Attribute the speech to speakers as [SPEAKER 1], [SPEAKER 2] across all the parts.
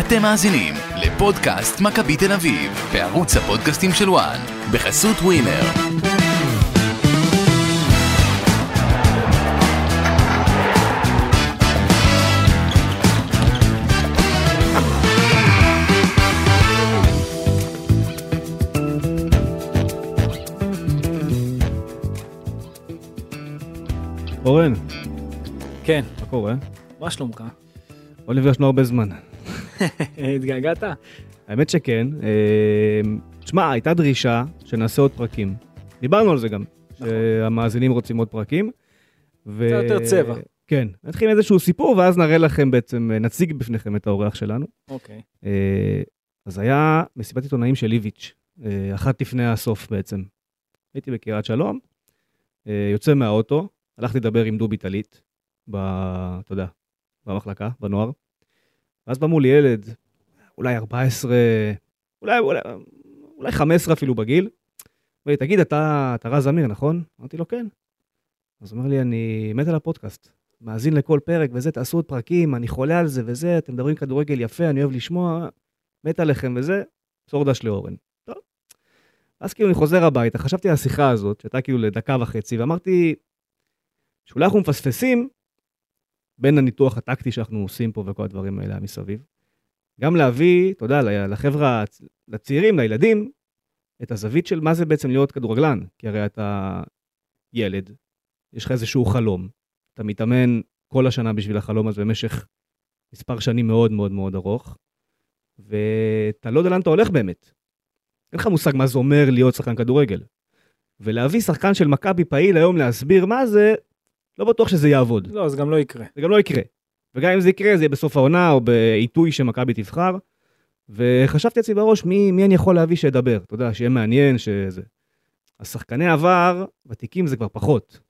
[SPEAKER 1] אתם מאזינים לפודקאסט מכבי תל אביב, בערוץ הפודקאסטים של וואן, בחסות ווינר.
[SPEAKER 2] אורן,
[SPEAKER 3] כן,
[SPEAKER 2] מה קורה?
[SPEAKER 3] מה שלומך?
[SPEAKER 2] לא נפגשנו הרבה זמן.
[SPEAKER 3] התגעגעת?
[SPEAKER 2] האמת שכן. אה, תשמע, הייתה דרישה שנעשה עוד פרקים. דיברנו על זה גם,
[SPEAKER 3] נכון.
[SPEAKER 2] שהמאזינים רוצים עוד פרקים. ו...
[SPEAKER 3] קצת יותר צבע.
[SPEAKER 2] כן. נתחיל עם איזשהו סיפור, ואז נראה לכם בעצם, אה, נציג בפניכם את האורח שלנו.
[SPEAKER 3] אוקיי.
[SPEAKER 2] אה, אז היה מסיבת עיתונאים של איביץ', אה, אחת לפני הסוף בעצם. הייתי בקריית שלום, אה, יוצא מהאוטו, הלכתי לדבר עם דובי טלית, ב... אתה יודע, במחלקה, בנוער. ואז בא מולי ילד, אולי 14, אולי, אולי, אולי 15 אפילו בגיל. אומר לי, תגיד, אתה, אתה רז אמיר, נכון? אמרתי לו, כן. אז הוא אומר לי, אני מת על הפודקאסט. מאזין לכל פרק וזה, תעשו עוד פרקים, אני חולה על זה וזה, אתם מדברים כדורגל יפה, אני אוהב לשמוע, מת עליכם וזה, צור דש לאורן. טוב. אז כאילו אני חוזר הביתה, חשבתי על השיחה הזאת, שהייתה כאילו לדקה וחצי, ואמרתי שאולי אנחנו מפספסים בין הניתוח הטקטי שאנחנו עושים פה וכל הדברים האלה מסביב, גם להביא, אתה יודע, ל- לחבר'ה, הצ- לצעירים, לילדים, את הזווית של מה זה בעצם להיות כדורגלן. כי הרי אתה ילד, יש לך איזשהו חלום, אתה מתאמן כל השנה בשביל החלום הזה במשך מספר שנים מאוד מאוד מאוד ארוך, ואתה לא יודע לאן אתה הולך באמת. אין לך מושג מה זה אומר להיות שחקן כדורגל. ולהביא שחקן של מכבי פעיל היום להסביר מה זה, לא בטוח שזה יעבוד.
[SPEAKER 3] לא, אז גם לא יקרה.
[SPEAKER 2] זה גם לא יקרה. וגם אם זה יקרה, זה יהיה בסוף העונה או בעיתוי שמכבי תבחר. וחשבתי לעצמי בראש, מי, מי אני יכול להביא שידבר? אתה יודע, שיהיה מעניין, שזה... אז שחקני עבר, ותיקים זה כבר פחות.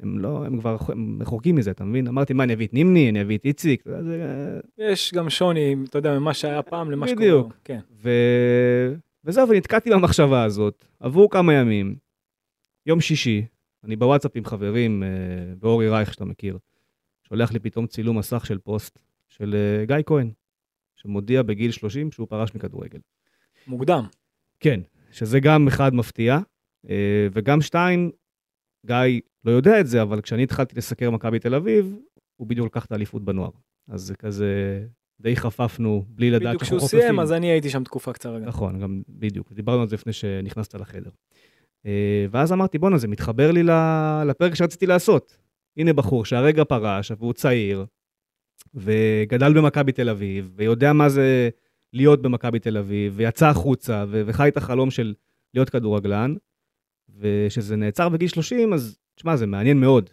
[SPEAKER 2] הם לא, הם כבר הם רחוקים מזה, אתה מבין? אמרתי, מה, אני אביא את נימני, אני אביא את איציק, אתה יודע, זה...
[SPEAKER 3] יש גם שוני, אתה יודע, ממה שהיה פעם למה שקורה.
[SPEAKER 2] בדיוק.
[SPEAKER 3] היום. כן.
[SPEAKER 2] ו... וזהו, ונתקעתי במחשבה הזאת. עברו כמה ימים, יום שישי, אני בוואטסאפ עם חברים, אה, ואורי רייך, שאתה מכיר, שולח לי פתאום צילום מסך של פוסט של אה, גיא כהן, שמודיע בגיל 30 שהוא פרש מכדורגל.
[SPEAKER 3] מוקדם.
[SPEAKER 2] כן, שזה גם אחד מפתיע, אה, וגם שתיים, גיא לא יודע את זה, אבל כשאני התחלתי לסקר מכבי תל אביב, הוא בדיוק לקח את האליפות בנוער. אז זה כזה, די חפפנו בלי לדעת
[SPEAKER 3] בדיוק
[SPEAKER 2] שאנחנו
[SPEAKER 3] כשהוא
[SPEAKER 2] חופפים.
[SPEAKER 3] סיים, אז אני הייתי שם תקופה קצרה גם.
[SPEAKER 2] נכון, גם בדיוק, דיברנו על זה לפני שנכנסת לחדר. אה, ואז אמרתי, בואנה, זה מתחבר לי ל- לפרק שרציתי לעשות. הנה בחור שהרגע פרש, והוא צעיר, וגדל במכבי תל אביב, ויודע מה זה להיות במכבי תל אביב, ויצא החוצה, ו- וחי את החלום של להיות כדורגלן, וכשזה נעצר בגיל 30, אז תשמע, זה מעניין מאוד.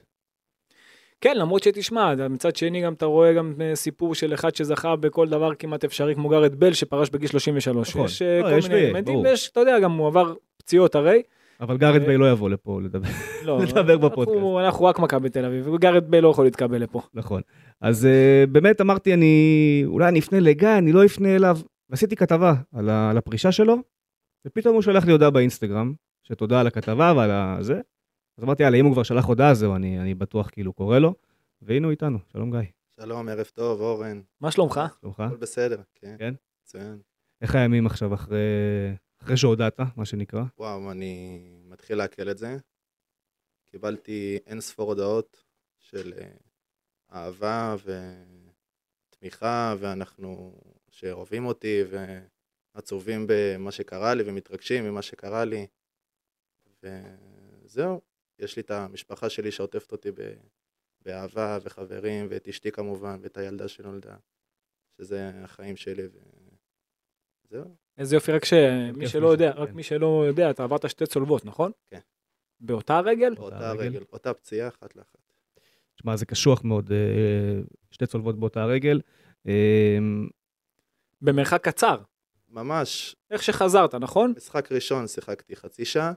[SPEAKER 3] כן, למרות שתשמע, אתה- מצד שני גם אתה רואה גם אה, סיפור של אחד שזכה בכל דבר כמעט אפשרי, כמו גארד בל שפרש בגיל 33.
[SPEAKER 2] נכון.
[SPEAKER 3] יש אה,
[SPEAKER 2] לא, יש
[SPEAKER 3] כל מיני
[SPEAKER 2] ויש,
[SPEAKER 3] אלמנטים,
[SPEAKER 2] ברור.
[SPEAKER 3] ויש, אתה יודע, גם הוא עבר פציעות הרי.
[SPEAKER 2] אבל גארד
[SPEAKER 3] אה,
[SPEAKER 2] ביי לא יבוא לפה לדבר,
[SPEAKER 3] לא,
[SPEAKER 2] נדבר
[SPEAKER 3] אנחנו-
[SPEAKER 2] בפודקאסט.
[SPEAKER 3] אנחנו רק מכבי תל אביב, וגארד בל לא יכול להתקבל לפה.
[SPEAKER 2] נכון. אז אה, באמת אמרתי, אני, אולי אני אפנה לגיא, אני לא אפנה אליו. ועשיתי כתבה על, ה, על הפרישה שלו, ופתאום הוא שלח לי הודעה באינסטגרם, שתודה על הכתבה ועל ה- זה. אז אמרתי, יאללה, אם הוא כבר שלח הודעה, זהו, אני, אני בטוח כאילו קורא לו. והנה הוא איתנו, שלום גיא.
[SPEAKER 4] שלום, ערב טוב, אורן,
[SPEAKER 3] מה שלומך?
[SPEAKER 2] שלומך?
[SPEAKER 4] הכל בסדר, כן.
[SPEAKER 2] כן?
[SPEAKER 4] מצוין.
[SPEAKER 2] איך הימים עכשיו אחרי, אחרי שהודעת, מה שנקרא?
[SPEAKER 4] וואו, אני מתחיל לעכל את זה. קיבלתי אין ספור הודעות של אה, אהבה ותמיכה, ואנחנו, שאוהבים אותי, ועצובים במה שקרה לי, ומתרגשים ממה שקרה לי. וזהו, יש לי את המשפחה שלי שעוטפת אותי ב- באהבה, וחברים, ואת אשתי כמובן, ואת הילדה שנולדה, שזה החיים שלי, וזהו.
[SPEAKER 3] איזה יופי, רק שמי
[SPEAKER 2] כיף
[SPEAKER 3] שלא יודע,
[SPEAKER 2] מזה,
[SPEAKER 3] רק
[SPEAKER 2] כן.
[SPEAKER 3] מי שלא יודע, אתה עברת שתי צולבות, נכון?
[SPEAKER 4] כן.
[SPEAKER 3] באותה רגל?
[SPEAKER 2] אותה
[SPEAKER 4] אותה
[SPEAKER 2] רגל?
[SPEAKER 4] רגל, אותה פציעה אחת לאחת.
[SPEAKER 2] תשמע, זה קשוח מאוד, אה, שתי צולבות באותה רגל. אה,
[SPEAKER 3] במרחק קצר.
[SPEAKER 4] ממש,
[SPEAKER 3] איך שחזרת, נכון?
[SPEAKER 4] משחק ראשון שיחקתי חצי שעה,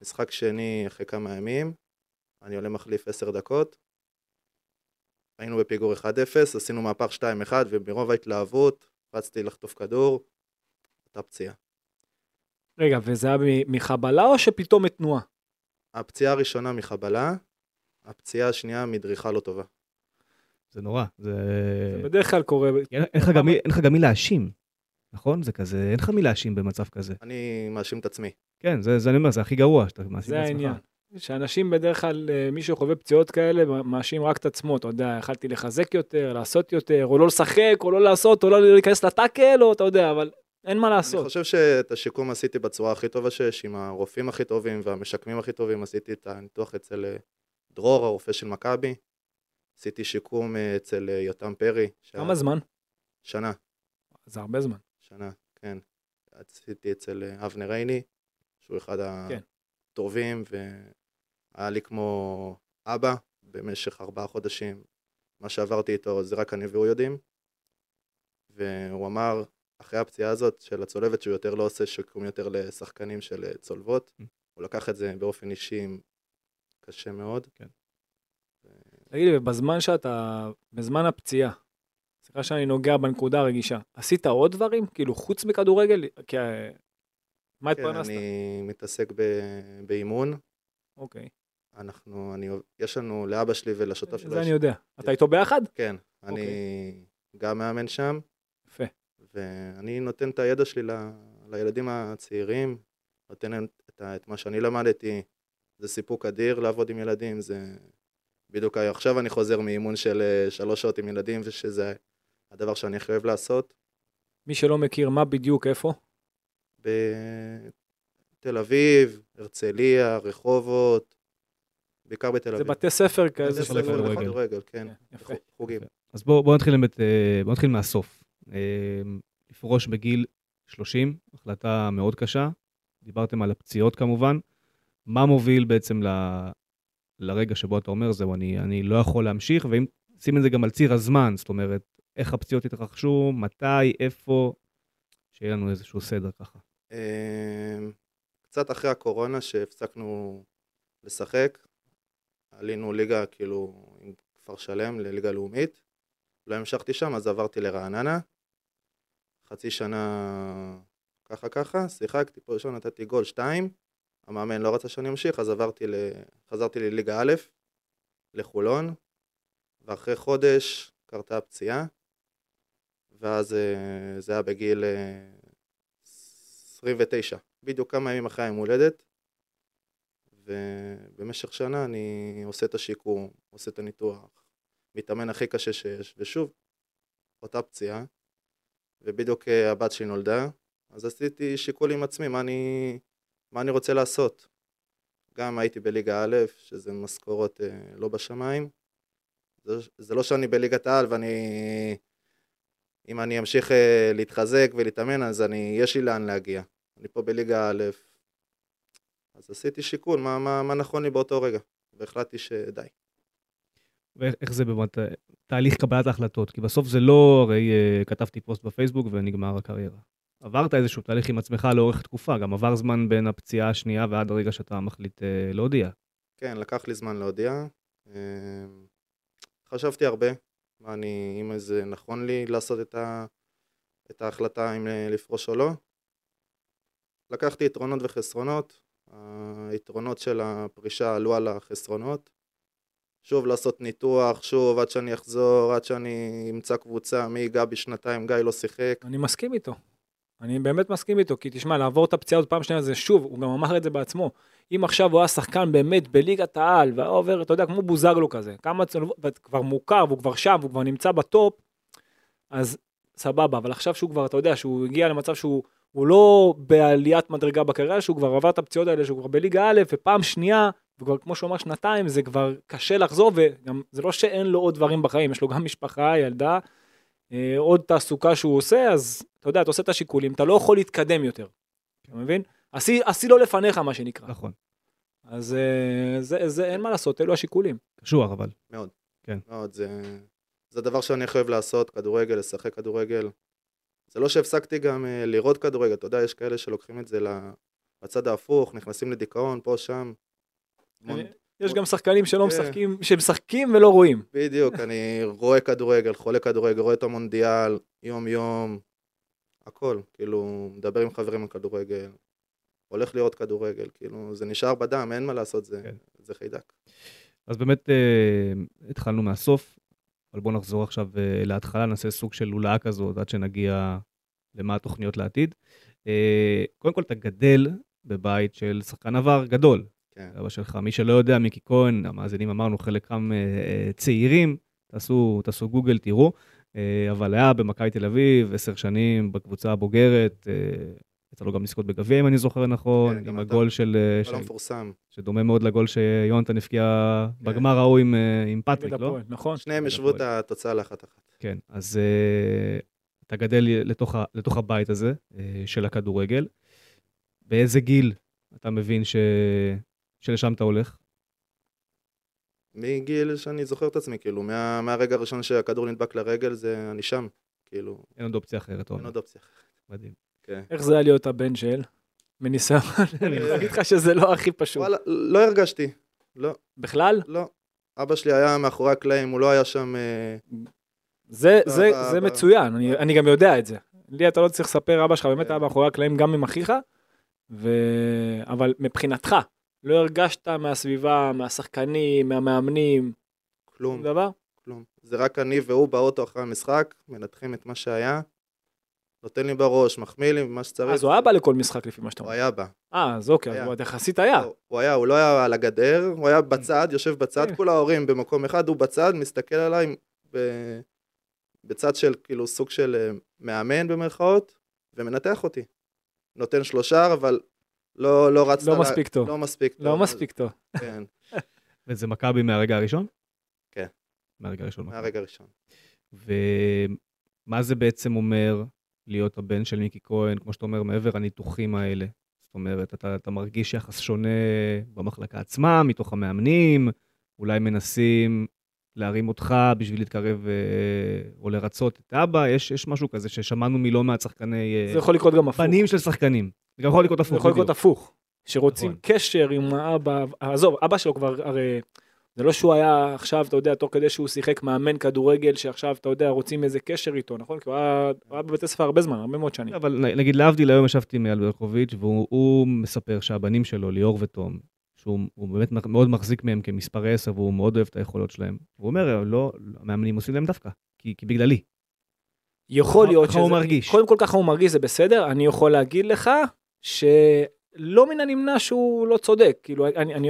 [SPEAKER 4] משחק שני אחרי כמה ימים, אני עולה מחליף עשר דקות, היינו בפיגור 1-0, עשינו מהפך 2-1, ומרוב ההתלהבות רצתי לחטוף כדור, אותה פציעה.
[SPEAKER 3] רגע, וזה היה מ- מחבלה או שפתאום מתנועה?
[SPEAKER 4] הפציעה הראשונה מחבלה, הפציעה השנייה מדריכה לא טובה.
[SPEAKER 2] זה נורא. זה...
[SPEAKER 3] זה בדרך כלל קורה.
[SPEAKER 2] כי אין- אין
[SPEAKER 3] נכון.
[SPEAKER 2] לך גם מי- אין לך גם מי להאשים, נכון? זה כזה, אין לך מי להאשים במצב כזה.
[SPEAKER 4] אני מאשים את עצמי.
[SPEAKER 2] כן, זה זה אני אומר, זה הכי גרוע שאתה מאשים
[SPEAKER 3] זה
[SPEAKER 2] את עצמך.
[SPEAKER 3] העניין. שאנשים בדרך כלל, אה, מי שחווה פציעות כאלה, מאשים רק את עצמו, אתה יודע, יכלתי לחזק יותר, לעשות יותר, או לא לשחק, או לא לעשות, או לא להיכנס לטאקל, או אתה יודע, אבל אין מה
[SPEAKER 4] אני
[SPEAKER 3] לעשות.
[SPEAKER 4] חושב שאת השיקום עשיתי בצורה הכי טובה שיש, עם הרופאים הכי טובים והמשקמים הכי טובים, עשיתי את הניתוח אצל אה, דרור, הרופא של מכבי. עשיתי שיקום אה, אצל אה, יותם פרי. שהיה-
[SPEAKER 3] כמה זמן?
[SPEAKER 4] שנה,
[SPEAKER 3] זה הרבה זמן.
[SPEAKER 4] שנה, כן. עשיתי אצל אה, אבנר עיני, שהוא אחד
[SPEAKER 3] כן.
[SPEAKER 4] הטובים, והיה לי כמו אבא במשך ארבעה חודשים. מה שעברתי איתו זה רק אני והוא יודעים. והוא אמר, אחרי הפציעה הזאת של הצולבת, שהוא יותר לא עושה שיקום יותר לשחקנים של אה, צולבות.
[SPEAKER 2] Mm.
[SPEAKER 4] הוא לקח את זה באופן אישי קשה מאוד.
[SPEAKER 3] כן, תגיד לי, בזמן שאתה, בזמן הפציעה, סליחה שאני נוגע בנקודה הרגישה, עשית עוד דברים? כאילו, חוץ מכדורגל? כי... אה, מה
[SPEAKER 4] כן,
[SPEAKER 3] התפרנסת?
[SPEAKER 4] אני מתעסק ב- באימון.
[SPEAKER 3] אוקיי.
[SPEAKER 4] אנחנו, אני, יש לנו, לאבא שלי ולשותף שלו
[SPEAKER 3] זה
[SPEAKER 4] יש
[SPEAKER 3] אני יודע. אתה איתו ביחד?
[SPEAKER 4] כן, אני אוקיי. גם מאמן שם,
[SPEAKER 3] יפה.
[SPEAKER 4] ואני נותן את הידע שלי ל... לילדים הצעירים, נותן להם את, ה... את מה שאני למדתי. זה סיפוק אדיר לעבוד עם ילדים, זה בדיוק ה- עכשיו אני חוזר מאימון של אה, שלוש שעות עם ילדים, ושזה הדבר שאני הכי אוהב לעשות.
[SPEAKER 3] מי שלא מכיר, מה בדיוק, איפה?
[SPEAKER 4] לא בתל אביב, הרצליה, רחובות, בעיקר בתל אביב.
[SPEAKER 3] זה בתי ספר כאלה.
[SPEAKER 4] בתי
[SPEAKER 2] ספר
[SPEAKER 4] ספר
[SPEAKER 2] לכדורגל.
[SPEAKER 4] לכדורגל, כן,
[SPEAKER 3] יפה.
[SPEAKER 4] חוגים.
[SPEAKER 2] אז בואו בוא נתחיל, באמת, אה, בוא נתחיל מהסוף. אה, לפרוש בגיל 30, החלטה מאוד קשה. דיברתם על הפציעות כמובן. מה מוביל בעצם ל, לרגע שבו אתה אומר, זהו, אני, אני לא יכול להמשיך, ואם שים את זה גם על ציר הזמן, זאת אומרת, איך הפציעות התרחשו, מתי, איפה, שיהיה לנו איזשהו סדר ככה.
[SPEAKER 4] אמ, קצת אחרי הקורונה שהפסקנו לשחק, עלינו ליגה כאילו עם כפר שלם לליגה לאומית, לא המשכתי שם אז עברתי לרעננה, חצי שנה ככה ככה, שיחקתי פה ראשון נתתי גול שתיים, המאמן לא רצה שאני אמשיך אז עברתי ל... חזרתי לליגה א', לחולון, ואחרי חודש קרתה הפציעה, ואז אה, זה היה בגיל אה, 29, בדיוק כמה ימים אחרי היום הולדת, ובמשך שנה אני עושה את השיקום, עושה את הניתוח, מתאמן הכי קשה שיש, ושוב, אותה פציעה, ובדיוק אה, הבת שלי נולדה, אז עשיתי שיקול עם עצמי, מה אני, מה אני רוצה לעשות. גם הייתי בליגה א', שזה משכורות אה, לא בשמיים. זה, זה לא שאני בליגת העל ואני אם אני אמשיך אה, להתחזק ולהתאמן, אז אני, יש לי לאן להגיע. אני פה בליגה א', אז עשיתי שיקול, מה, מה, מה נכון לי באותו רגע, והחלטתי שדי.
[SPEAKER 2] ואיך איך זה באמת, אה, תהליך קבלת ההחלטות? כי בסוף זה לא, הרי אה, כתבתי פוסט בפייסבוק ונגמר הקריירה. עברת איזשהו תהליך עם עצמך לאורך תקופה, גם עבר זמן בין הפציעה השנייה ועד הרגע שאתה מחליט אה, להודיע.
[SPEAKER 4] כן, לקח לי זמן להודיע. אה, חשבתי הרבה, מה אני, אם זה נכון לי לעשות את, ה, את ההחלטה אם ל- לפרוש או לא. לקחתי יתרונות וחסרונות, היתרונות של הפרישה עלו על החסרונות. שוב לעשות ניתוח, שוב עד שאני אחזור, עד שאני אמצא קבוצה, מי ייגע בי שנתיים, גיא לא שיחק.
[SPEAKER 3] אני מסכים איתו. אני באמת מסכים איתו, כי תשמע, לעבור את הפציעה עוד פעם שנייה זה שוב, הוא גם אמר את זה בעצמו. אם עכשיו הוא היה שחקן באמת בליגת העל, והיה עובר, אתה יודע, כמו בוזגלו כזה, כמה צולבות, וכבר מוכר, והוא כבר שם, והוא כבר נמצא בטופ, אז סבבה, אבל עכשיו שהוא כבר, אתה יודע, שהוא הגיע למצב שהוא הוא לא בעליית מדרגה בקריירה, שהוא כבר עבר את הפציעות האלה, שהוא כבר בליגה א', ופעם שנייה, וכבר, כמו שהוא אמר, שנתיים, זה כבר קשה לחזור, וגם, זה לא שאין לו עוד דברים בחיים, יש לו גם משפחה, ילדה, אה, עוד תעסוקה שהוא עושה, אז אתה יודע, אתה עושה את השיקולים, אתה לא יכול להתקדם יותר. אתה מבין? עשי, עשי לא לפניך, מה שנקרא.
[SPEAKER 2] נכון.
[SPEAKER 3] אז אה, זה, זה, אין מה לעשות, אלו השיקולים.
[SPEAKER 2] קשוח אבל.
[SPEAKER 4] מאוד, לא, זה, זה הדבר שאני הכי אוהב לעשות, כדורגל, לשחק כדורגל. זה לא שהפסקתי גם אה, לראות כדורגל, אתה יודע, יש כאלה שלוקחים את זה ל- לצד ההפוך, נכנסים לדיכאון, פה, שם. מון-
[SPEAKER 3] אני- יש גם שחקנים שלא
[SPEAKER 2] אה.
[SPEAKER 4] כן.
[SPEAKER 3] משחקים, שמשחקים ולא רואים.
[SPEAKER 4] בדיוק, אני רואה כדורגל, חולה כדורגל, רואה את המונדיאל, יום-יום, הכל. כאילו, מדבר עם חברים על כדורגל, הולך לראות כדורגל, כאילו, זה נשאר בדם, אין מה לעשות, זה,
[SPEAKER 2] כן.
[SPEAKER 4] זה חיידק.
[SPEAKER 2] אז באמת אה, התחלנו מהסוף. אבל בואו נחזור עכשיו אה, להתחלה, נעשה סוג של לולאה כזאת עד שנגיע למה התוכניות לעתיד. אה, קודם כל, אתה גדל בבית של שחקן עבר גדול,
[SPEAKER 4] כן.
[SPEAKER 2] אבא שלך. מי שלא יודע, מיקי כהן, המאזינים אמרנו, חלקם אה, אה, צעירים, תעשו, תעשו גוגל, תראו. אה, אבל היה במכבי תל אביב, עשר שנים, בקבוצה הבוגרת, אה, יצא לו גם לזכות בגביע, אם אני זוכר נכון,
[SPEAKER 4] כן, גם
[SPEAKER 2] עם
[SPEAKER 4] אתה.
[SPEAKER 2] הגול של... אה,
[SPEAKER 4] אבל לא
[SPEAKER 2] ש-
[SPEAKER 4] מפורסם.
[SPEAKER 2] שדומה מאוד לגול שיונתן הבקיע
[SPEAKER 4] כן.
[SPEAKER 2] בגמר ההוא עם, אה, עם
[SPEAKER 3] נגד
[SPEAKER 2] פטריק, לא?
[SPEAKER 3] הפועל, נכון.
[SPEAKER 4] שניהם השוו את התוצאה לאחת-אחת.
[SPEAKER 2] כן, אז אה, אתה גדל לתוך, ה- לתוך הבית הזה אה, של הכדורגל. באיזה גיל אתה מבין ש... שלשם אתה הולך?
[SPEAKER 4] מגיל שאני זוכר את עצמי, כאילו, מה, מהרגע הראשון שהכדור נדבק לרגל, זה אני שם. כאילו,
[SPEAKER 2] אין עוד אופציה אחרת,
[SPEAKER 4] אין
[SPEAKER 2] עומר.
[SPEAKER 4] עוד אופציה.
[SPEAKER 2] מדהים.
[SPEAKER 4] כן.
[SPEAKER 3] איך זה היה להיות הבן של? מניסיון, אני יכול להגיד לך שזה לא הכי פשוט.
[SPEAKER 4] וואלה, לא הרגשתי. לא,
[SPEAKER 3] בכלל,
[SPEAKER 4] לא. אבא שלי היה מאחורי הקלעים, הוא לא היה שם... אה,
[SPEAKER 3] זה-
[SPEAKER 4] לא,
[SPEAKER 3] זה-
[SPEAKER 4] ב-
[SPEAKER 3] זה
[SPEAKER 4] ב-
[SPEAKER 3] מצוין, אני- אני גם יודע את זה. לי אתה לא צריך לספר, אבא שלך
[SPEAKER 4] כן.
[SPEAKER 3] באמת היה מאחורי הקלעים גם עם אחיך, ו- אבל מבחינתך, לא הרגשת מהסביבה, מהשחקנים, מהמאמנים, שום
[SPEAKER 4] כלום,
[SPEAKER 3] דבר?
[SPEAKER 4] כלום. זה רק אני והוא באוטו אחרי המשחק, מנתחים את מה שהיה, נותן לי בראש, מחמיא לי מה שצריך.
[SPEAKER 3] אה, אז הוא היה בא לכל משחק לפי מה שאתה
[SPEAKER 4] לא. הוא
[SPEAKER 3] אומר.
[SPEAKER 4] היה בא.
[SPEAKER 3] אה, אז אוקיי,
[SPEAKER 4] היה.
[SPEAKER 3] אז הוא עוד יחסית היה.
[SPEAKER 4] לא, הוא היה, הוא לא היה על הגדר, הוא היה בצד, יושב בצד,
[SPEAKER 3] אה.
[SPEAKER 4] כל ההורים במקום אחד, הוא בצד, מסתכל עליי ב- בצד של כאילו סוג של אה, מאמן במרכאות, ומנתח אותי. נותן שלושה, אבל לא, לא רץ...
[SPEAKER 3] לא
[SPEAKER 4] על ה-
[SPEAKER 3] מספיק טוב.
[SPEAKER 4] לא מספיק
[SPEAKER 3] לא מספיק טוב.
[SPEAKER 4] כן,
[SPEAKER 2] וזה מכבי מהרגע הראשון?
[SPEAKER 4] כן.
[SPEAKER 2] מהרגע הראשון. מכבי.
[SPEAKER 4] מהרגע הראשון.
[SPEAKER 2] ומה זה בעצם אומר להיות הבן של מיקי כהן, כמו שאתה אומר, מעבר הניתוחים האלה? זאת אומרת, אתה, אתה מרגיש יחס שונה במחלקה עצמה, מתוך המאמנים, אולי מנסים להרים אותך בשביל להתקרב אה, או לרצות את אבא, יש, יש משהו כזה ששמענו מלא מעט שחקני... אה,
[SPEAKER 3] זה יכול לקרות גם הפוך.
[SPEAKER 2] בנים של שחקנים. זה גם יכול לקרות
[SPEAKER 3] זה
[SPEAKER 2] הפוך,
[SPEAKER 3] יכול לקרות
[SPEAKER 2] בדיוק.
[SPEAKER 3] הפוך. שרוצים
[SPEAKER 2] נכון.
[SPEAKER 3] קשר עם האבא, עזוב, אבא שלו כבר, הרי זה לא שהוא היה עכשיו, אתה יודע, תוך כדי שהוא שיחק מאמן כדורגל, שעכשיו, אתה יודע, רוצים איזה קשר איתו, נכון? כי הוא היה הוא היה בבית הספר הרבה זמן, הרבה מאוד שנים.
[SPEAKER 2] כן, אבל נ- נגיד להבדיל, היום ישבתי עם אייל ברקוביץ', והוא הוא מספר שהבנים שלו, ליאור ותום, שהוא הוא באמת מח- מאוד מחזיק מהם כמספר 10, והוא מאוד אוהב את היכולות שלהם. והוא אומר, לא, לא, המאמנים עושים להם דווקא, כי, כי בגללי.
[SPEAKER 3] יכול
[SPEAKER 2] ככה-
[SPEAKER 3] להיות
[SPEAKER 2] ככה הוא מרגיש.
[SPEAKER 3] קודם כל ככה הוא מרגיש, זה בסדר, אני יכול להגיד לך שלא מן הנמנע שהוא לא צודק, כאילו, אני, אני,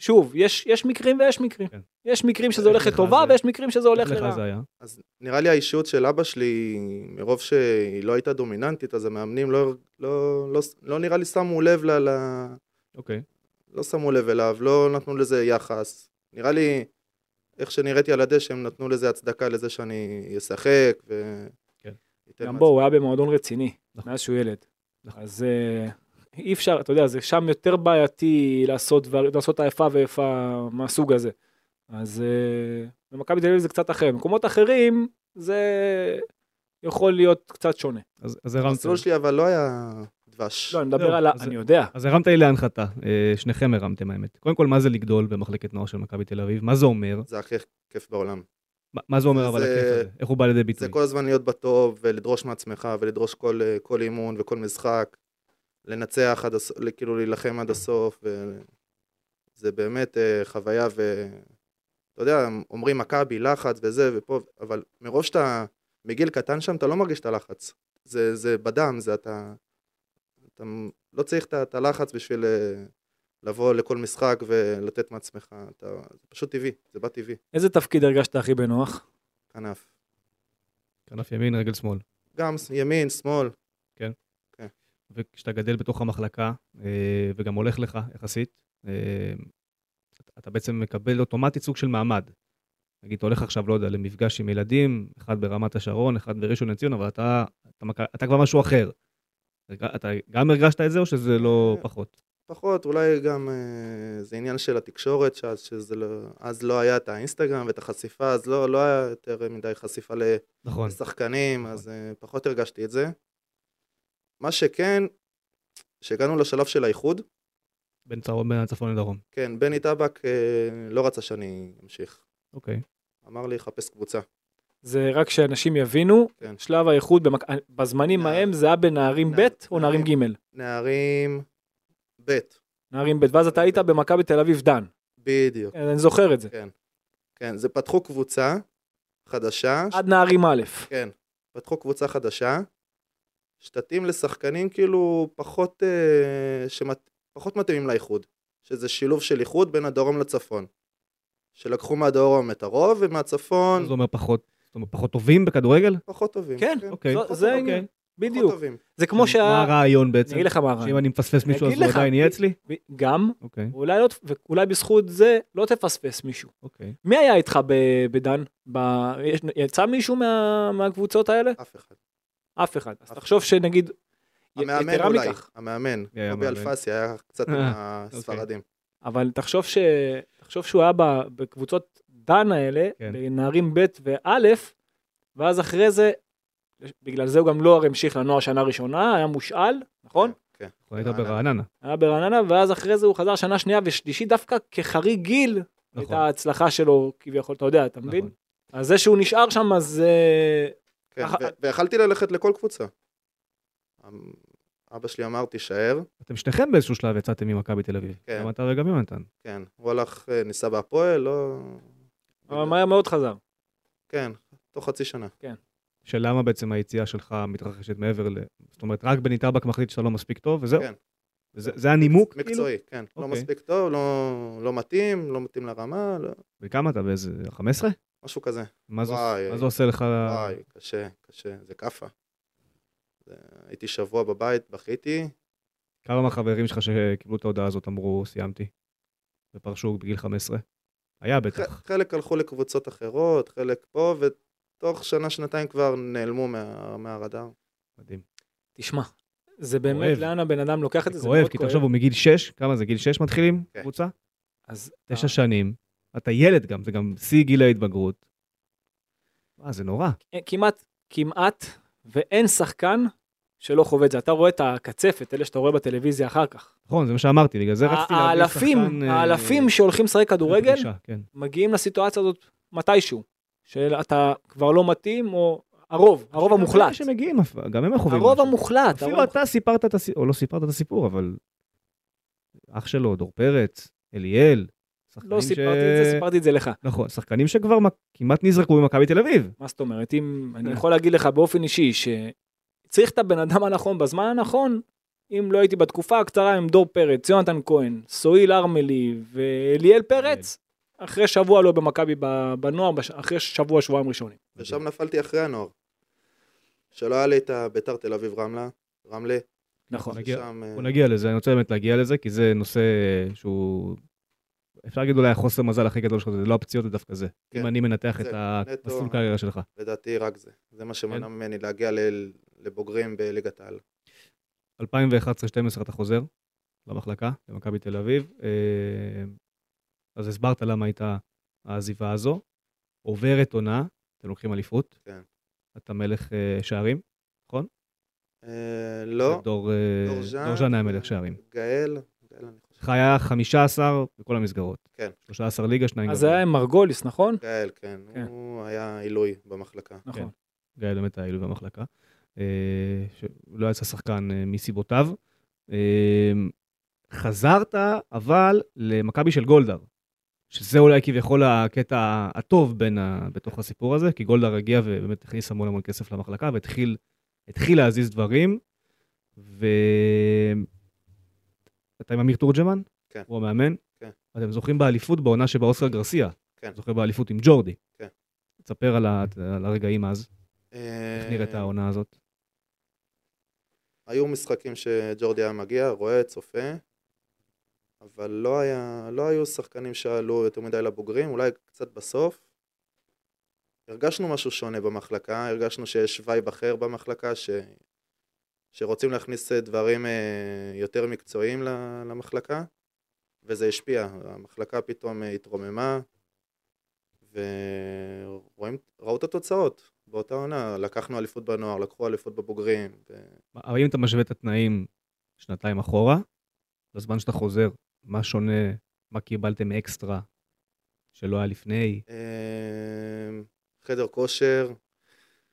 [SPEAKER 3] שוב, יש, יש מקרים ויש מקרים.
[SPEAKER 2] כן.
[SPEAKER 3] יש מקרים שזה הולך
[SPEAKER 2] לך
[SPEAKER 3] לטובה
[SPEAKER 2] זה-
[SPEAKER 3] ויש מקרים שזה הולך
[SPEAKER 2] איך
[SPEAKER 3] לרעה.
[SPEAKER 2] לך זה היה.
[SPEAKER 4] אז נראה לי האישיות של אבא שלי, מרוב שהיא לא הייתה דומיננטית, אז המאמנים לא, לא, לא, לא נראה לי שמו לב ל... ל-
[SPEAKER 2] אוקיי.
[SPEAKER 4] לא שמו לב אליו, לא נתנו לזה יחס. נראה לי, איך שנראיתי על הדשא, הם נתנו לזה הצדקה לזה שאני אשחק ו...
[SPEAKER 2] כן.
[SPEAKER 4] אתן
[SPEAKER 3] גם
[SPEAKER 4] מעצמי.
[SPEAKER 3] בו, הוא היה במועדון רציני,
[SPEAKER 2] נכון.
[SPEAKER 3] מאז שהוא ילד.
[SPEAKER 2] נכון.
[SPEAKER 3] אז אה, אי אפשר, אתה יודע, זה שם יותר בעייתי לעשות דבר- לעשות האיפה ואיפה מהסוג הזה. אז אה, במכבי תל אביב זה קצת אחר, במקומות אחרים זה יכול להיות קצת שונה.
[SPEAKER 2] אז אז הרמת
[SPEAKER 4] המסלול שלי אבל לא היה דבש.
[SPEAKER 3] כן. לא, אני מדבר
[SPEAKER 2] זהו,
[SPEAKER 3] על ה...
[SPEAKER 2] אז-
[SPEAKER 3] אני יודע.
[SPEAKER 2] אז הרמת לי להנחתה, אה, שניכם הרמתם האמת. קודם כל, מה זה לגדול במחלקת נוער של מכבי תל אביב? מה זה אומר?
[SPEAKER 4] זה הכי כיף בעולם.
[SPEAKER 2] מה- מה זה אומר
[SPEAKER 4] זה-
[SPEAKER 2] אבל הכיף הזה? איך הוא בא לידי ביטוי?
[SPEAKER 4] זה כל הזמן להיות בטוב ולדרוש מעצמך ולדרוש כל, אה, כל אימון וכל משחק. לנצח עד הסוף, כאילו להילחם עד הסוף. ו... זה באמת אה, חוויה ו... אתה יודע, אומרים מכבי, לחץ וזה ופה, אבל מרוב שאתה מגיל קטן שם, אתה לא מרגיש את הלחץ. זה, זה בדם, זה אתה... אתה לא צריך את ה- את הלחץ בשביל אה, לבוא לכל משחק ולתת מעצמך. אתה... זה פשוט טבעי, זה בא טבעי,
[SPEAKER 3] איזה תפקיד הרגשת הכי בנוח?
[SPEAKER 4] כנף.
[SPEAKER 2] כנף ימין, רגל שמאל.
[SPEAKER 4] גם ימין, שמאל,
[SPEAKER 2] וכשאתה גדל בתוך המחלקה, אה, וגם הולך לך יחסית, אה, אתה- אתה בעצם מקבל אוטומטית סוג של מעמד. נגיד, אתה הולך עכשיו, לא יודע, למפגש עם ילדים, אחד ברמת השרון, אחד בראשון לציון, אבל אתה, אתה, מק- אתה כבר משהו אחר. הרגע- אתה גם הרגשת את זה, או שזה לא
[SPEAKER 4] אה,
[SPEAKER 2] פחות?
[SPEAKER 4] פחות, אולי גם אה, זה עניין של התקשורת, שאז, שזה לא, אז לא היה את האינסטגרם ואת החשיפה, אז לא, לא היה יותר מדי חשיפה ל-
[SPEAKER 2] נכון.
[SPEAKER 4] לשחקנים,
[SPEAKER 2] נכון.
[SPEAKER 4] אז אה, פחות הרגשתי את זה. מה שכן, כשהגענו לשלב של האיחוד,
[SPEAKER 2] בין צרון, בין הצפון לדרום.
[SPEAKER 4] כן, בני טבק אה, לא רצה שאני אמשיך.
[SPEAKER 2] אוקיי.
[SPEAKER 4] אמר לי, חפש קבוצה.
[SPEAKER 3] זה רק שאנשים יבינו,
[SPEAKER 4] כן.
[SPEAKER 3] שלב האיחוד במק- אה, בזמנים
[SPEAKER 4] נער-
[SPEAKER 3] ההם זה היה בנערים
[SPEAKER 4] נער-
[SPEAKER 3] ב' או נערים ג'?
[SPEAKER 4] נערים. נערים ב',
[SPEAKER 3] נערים ב', ואז אתה היית במכבי תל אביב דן.
[SPEAKER 4] בדיוק.
[SPEAKER 3] אני זוכר את זה.
[SPEAKER 4] כן, זה פתחו קבוצה, חדשה.
[SPEAKER 3] עד נערים א'.
[SPEAKER 4] כן, פתחו קבוצה חדשה, שתתאים לשחקנים כאילו פחות, אה, שמת, פחות מתאימים לאיחוד, שזה שילוב של איחוד בין הדרום לצפון. שלקחו מהדרום את הרוב
[SPEAKER 3] נכון.
[SPEAKER 4] ומהצפון
[SPEAKER 2] זה אומר פחות, זאת אומרת, פחות טובים בכדורגל?
[SPEAKER 4] פחות טובים.
[SPEAKER 3] כן,
[SPEAKER 2] אוקיי.
[SPEAKER 3] זו-
[SPEAKER 4] פחות
[SPEAKER 3] זה
[SPEAKER 4] טובים,
[SPEAKER 3] העניין,
[SPEAKER 4] פחות
[SPEAKER 3] בדיוק.
[SPEAKER 4] טובים.
[SPEAKER 3] זה כמו
[SPEAKER 2] מה
[SPEAKER 3] שה...
[SPEAKER 2] הרעיון בעצם?
[SPEAKER 3] אני אגיד לך מה הרעיון.
[SPEAKER 2] שאם אני מפספס
[SPEAKER 3] אני
[SPEAKER 2] מישהו אז
[SPEAKER 3] אגיד
[SPEAKER 2] הוא
[SPEAKER 3] לך,
[SPEAKER 2] עדיין יהיה
[SPEAKER 3] ב-
[SPEAKER 2] אצלי?
[SPEAKER 3] ב- גם,
[SPEAKER 2] אוקיי,
[SPEAKER 3] ואולי לא- ואולי בזכות זה לא תפספס מישהו.
[SPEAKER 2] אוקיי.
[SPEAKER 3] מי היה איתך ב- בדן? ב- יש- יצא מישהו מה- מהקבוצות האלה?
[SPEAKER 4] אף אחד.
[SPEAKER 3] אף אחד. אז תחשוב שנגיד... י-
[SPEAKER 4] המאמן
[SPEAKER 3] יתרה
[SPEAKER 4] אולי,
[SPEAKER 3] מכך,
[SPEAKER 4] המאמן.
[SPEAKER 2] מי היה
[SPEAKER 4] קובי
[SPEAKER 2] המאמן?
[SPEAKER 4] אלפסי היה קצת עם
[SPEAKER 2] אה,
[SPEAKER 3] אוקיי.
[SPEAKER 4] הספרדים.
[SPEAKER 3] אבל תחשוב ש... תחשוב שהוא היה ב- בקבוצות דן האלה,
[SPEAKER 2] כן.
[SPEAKER 3] בנערים ב' וא', ואז אחרי זה, בגלל זה הוא גם לא הרי המשיך לנוער שנה ראשונה, היה מושאל, נכון?
[SPEAKER 4] כן.
[SPEAKER 2] הוא היית ברעננה.
[SPEAKER 3] היה ברעננה, ואז אחרי זה הוא חזר שנה שנייה ושלישית דווקא כחריג גיל,
[SPEAKER 2] נכון.
[SPEAKER 3] הייתה ההצלחה שלו כביכול, אתה יודע, אתה מבין?
[SPEAKER 2] נכון.
[SPEAKER 3] אז זה שהוא נשאר שם, אז אה,
[SPEAKER 4] כן,
[SPEAKER 3] אח-
[SPEAKER 4] ו- ויכלתי ללכת לכל קבוצה. אמ- אבא שלי אמר, תישאר.
[SPEAKER 2] אתם שניכם באיזשהו שלב יצאתם ממכבי תל אביב.
[SPEAKER 4] כן.
[SPEAKER 2] גם אתה וגם יונתן.
[SPEAKER 4] כן, הוא הלך, אה, ניסה בהפועל, לא...
[SPEAKER 2] אה,
[SPEAKER 3] אבל מהר מאוד חזר.
[SPEAKER 4] כן, תוך חצי שנה.
[SPEAKER 2] שלמה בעצם היציאה שלך מתרחשת מעבר ל... זאת אומרת, רק בניטר בק מחליט שאתה לא מספיק טוב, וזהו.
[SPEAKER 4] כן.
[SPEAKER 2] וזה זה הנימוק, כאילו?
[SPEAKER 4] מקצועי, כן. לא
[SPEAKER 2] אוקיי.
[SPEAKER 4] מספיק טוב, לא- לא מתאים, לא מתאים לרמה, לא-
[SPEAKER 2] וכמה אתה, באיזה 15?
[SPEAKER 4] משהו כזה.
[SPEAKER 2] מה זה
[SPEAKER 4] וואי,
[SPEAKER 2] מה זה עושה לך...
[SPEAKER 4] וואי, קשה, קשה, זה כאפה. זה- הייתי שבוע בבית, בכיתי,
[SPEAKER 2] כמה מהחברים שלך שקיבלו את ההודעה הזאת אמרו, סיימתי, ופרשו בגיל 15? היה בטח.
[SPEAKER 4] ח- חלק הלכו לקבוצות אחרות, חלק פה, ותוך שנה-שנתיים כבר נעלמו מה- מהרדאר.
[SPEAKER 2] מדהים.
[SPEAKER 3] תשמע, זה באמת,
[SPEAKER 2] כואב.
[SPEAKER 3] לאן הבן אדם לוקח את זה,
[SPEAKER 2] זה
[SPEAKER 3] זה
[SPEAKER 2] כואב,
[SPEAKER 3] מאוד
[SPEAKER 2] כי
[SPEAKER 3] כואב.
[SPEAKER 2] תחשוב, הוא מגיל 6, כמה זה, גיל 6 מתחילים?
[SPEAKER 4] כן.
[SPEAKER 2] קבוצה?
[SPEAKER 3] אז
[SPEAKER 2] תשע שנים, אתה ילד גם, זה גם שיא גיל ההתבגרות. וואי, זה נורא.
[SPEAKER 3] אה, כמעט, כמעט, ואין שחקן שלא חווה את זה. אתה רואה את הקצפת, אלה שאתה רואה בטלוויזיה אחר כך.
[SPEAKER 2] נכון, זה מה שאמרתי, בגלל זה רציתי להביא
[SPEAKER 3] האלפים,
[SPEAKER 2] שחקן... אה,
[SPEAKER 3] האלפים שהולכים לשחק כדורגל,
[SPEAKER 2] בפגישה, כן.
[SPEAKER 3] מגיעים לסיטואציה הזאת מתישהו, שאתה כבר לא מתאים, או הרוב, הרוב המוחלט.
[SPEAKER 2] גם אלה שמגיעים, אף- גם הם חווים.
[SPEAKER 3] הרוב
[SPEAKER 2] משהו.
[SPEAKER 3] המוחלט, הרוב
[SPEAKER 2] אפילו אתה סיפרת את הסיפור, או לא סיפרת את הסיפור, אבל... אח שלו, דור פרץ, אליאל, שחקנים
[SPEAKER 3] לא
[SPEAKER 2] ש-
[SPEAKER 3] סיפרתי את זה, סיפרתי את זה לך.
[SPEAKER 2] נכון, שחקנים שכבר מק- כמעט נזרקו ממכבי תל אביב.
[SPEAKER 3] מה זאת אומרת? אם אני יכול להגיד לך באופן אישי, שצריך את הבן אדם הנכון בזמן הנכון, אם לא הייתי בתקופה הקצרה עם דור פרץ, יונתן כהן, סואיל ארמלי ואליאל פרץ, אחרי שבוע לא במכבי ב- בנוער, בש- אחרי שבוע, שבועיים ראשונים.
[SPEAKER 4] ושם נפלתי אחרי הנוער. שלא היה לי את הביתר תל אביב רמלה, רמלה,
[SPEAKER 3] נכון.
[SPEAKER 2] נגיע-
[SPEAKER 4] ששם, אה,
[SPEAKER 2] בוא נגיע לזה, אני רוצה באמת להגיע לזה, כי זה נושא שהוא... אפשר להגיד אולי החוסר מזל הכי גדול שלך, זה לא הפציעות, זה דווקא זה.
[SPEAKER 4] כן.
[SPEAKER 2] אם אני מנתח את
[SPEAKER 4] זה נטו-
[SPEAKER 2] המסלול קריירה שלך.
[SPEAKER 4] לדעתי רק זה. זה
[SPEAKER 2] כן.
[SPEAKER 4] מה שמנע ממני להגיע ל- לבוגרים בליגת העל.
[SPEAKER 2] 2011-2012 אתה חוזר למחלקה, למכבי תל אביב. אה, אז הסברת למה הייתה העזיבה הזו. עוברת עונה, אתם לוקחים אליפות.
[SPEAKER 4] כן.
[SPEAKER 2] אתה מלך אה, שערים, נכון?
[SPEAKER 4] אה, לא,
[SPEAKER 2] דור אה, דור ז'אן היה מלך שערים.
[SPEAKER 4] גאל, גאל אני חושב.
[SPEAKER 2] לך היה 15 בכל המסגרות.
[SPEAKER 4] כן.
[SPEAKER 2] 13 ליגה, שניים
[SPEAKER 3] אז זה
[SPEAKER 2] גביע.
[SPEAKER 3] היה עם מרגוליס, נכון?
[SPEAKER 4] גאל, כן.
[SPEAKER 3] כן.
[SPEAKER 4] הוא היה עילוי במחלקה.
[SPEAKER 3] נכון.
[SPEAKER 2] גיא באמת היה עילוי במחלקה, אה, שלא יצא שחקן אה, מסיבותיו. אה, חזרת, אבל למכבי של גולדהר, שזה אולי כביכול הקטע הטוב בין ה... בתוך הסיפור הזה, כי גולדהר הגיע ובאמת הכניס המון המון כסף למחלקה והתחיל התחיל להזיז דברים, ואתה עם אמיר תורג'מן?
[SPEAKER 4] כן.
[SPEAKER 2] הוא המאמן?
[SPEAKER 4] כן.
[SPEAKER 2] אתם זוכרים באליפות בעונה שבה אוסקר גרסיה?
[SPEAKER 4] כן.
[SPEAKER 2] זוכר באליפות עם ג'ורדי?
[SPEAKER 4] כן.
[SPEAKER 2] תספר על, ה... על הרגעים אז.
[SPEAKER 4] אה,
[SPEAKER 2] איך נראית העונה הזאת?
[SPEAKER 4] היו משחקים שג'ורדי היה מגיע, רואה, צופה, אבל לא, היה, לא היו שחקנים שעלו יותר מדי לבוגרים, אולי קצת בסוף. הרגשנו משהו שונה במחלקה, הרגשנו שיש וייב אחר במחלקה, ש... שרוצים להכניס אה, דברים אה, יותר מקצועיים ל- למחלקה, וזה השפיע, המחלקה פתאום אה, התרוממה, וראו את התוצאות באותה עונה, לקחנו אליפות בנוער, לקחו אליפות בבוגרים, ו...
[SPEAKER 2] אבל אם אתה משווה את התנאים שנתיים אחורה, בזמן שאתה חוזר, מה שונה, מה קיבלתם אקסטרה שלא היה לפני?
[SPEAKER 4] אמ, חדר כושר,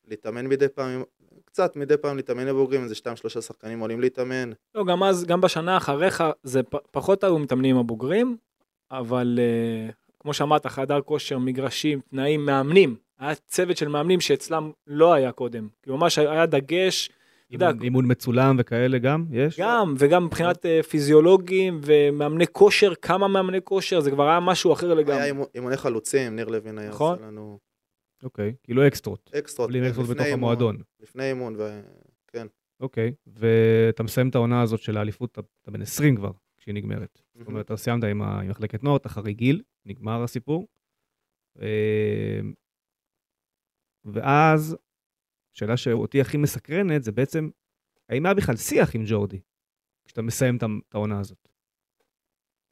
[SPEAKER 4] להתאמן מדי פעם, עם- קצת מדי פעם להתאמן לבוגרים, איזה שתיים שלושה שחקנים עולים להתאמן,
[SPEAKER 3] לא, גם אז, גם בשנה אחריך, זה פ- פחות היו מתאמנים עם הבוגרים, אבל אה, כמו שאמרת, חדר כושר, מגרשים, תנאים, מאמנים. היה צוות של מאמנים שאצלם לא היה קודם. כאילו ממש היה דגש יודע,
[SPEAKER 2] אימון- אימון מצולם וכאלה גם? יש?
[SPEAKER 3] גם, וגם מבחינת אה, פיזיולוגים ומאמני כושר, כמה מאמני כושר, זה כבר היה משהו אחר
[SPEAKER 4] היה
[SPEAKER 3] לגמרי.
[SPEAKER 4] אימון- אימוני חלוצים, ניר לוין היה
[SPEAKER 3] נכון.
[SPEAKER 4] עושה לנו
[SPEAKER 2] אוקיי, כאילו אקסטרות.
[SPEAKER 4] אקסטרות.
[SPEAKER 2] עולים אקסטרות
[SPEAKER 4] אה, לפני
[SPEAKER 2] בתוך
[SPEAKER 4] אימון,
[SPEAKER 2] המועדון.
[SPEAKER 4] לפני אימון, ו...
[SPEAKER 2] אוקיי, ואתה מסיים את העונה הזאת של האליפות, אתה- אתה בן 20 כבר, כשהיא נגמרת. זאת אומרת, אתה סיימת עם ה- עם מחלקת נוער, אתה חריג גיל, נגמר הסיפור. אה, ואז, שאלה שאותי הכי מסקרנת, זה בעצם, האם היה בכלל שיח עם ג'ורדי, כשאתה מסיים את ה- את העונה הזאת?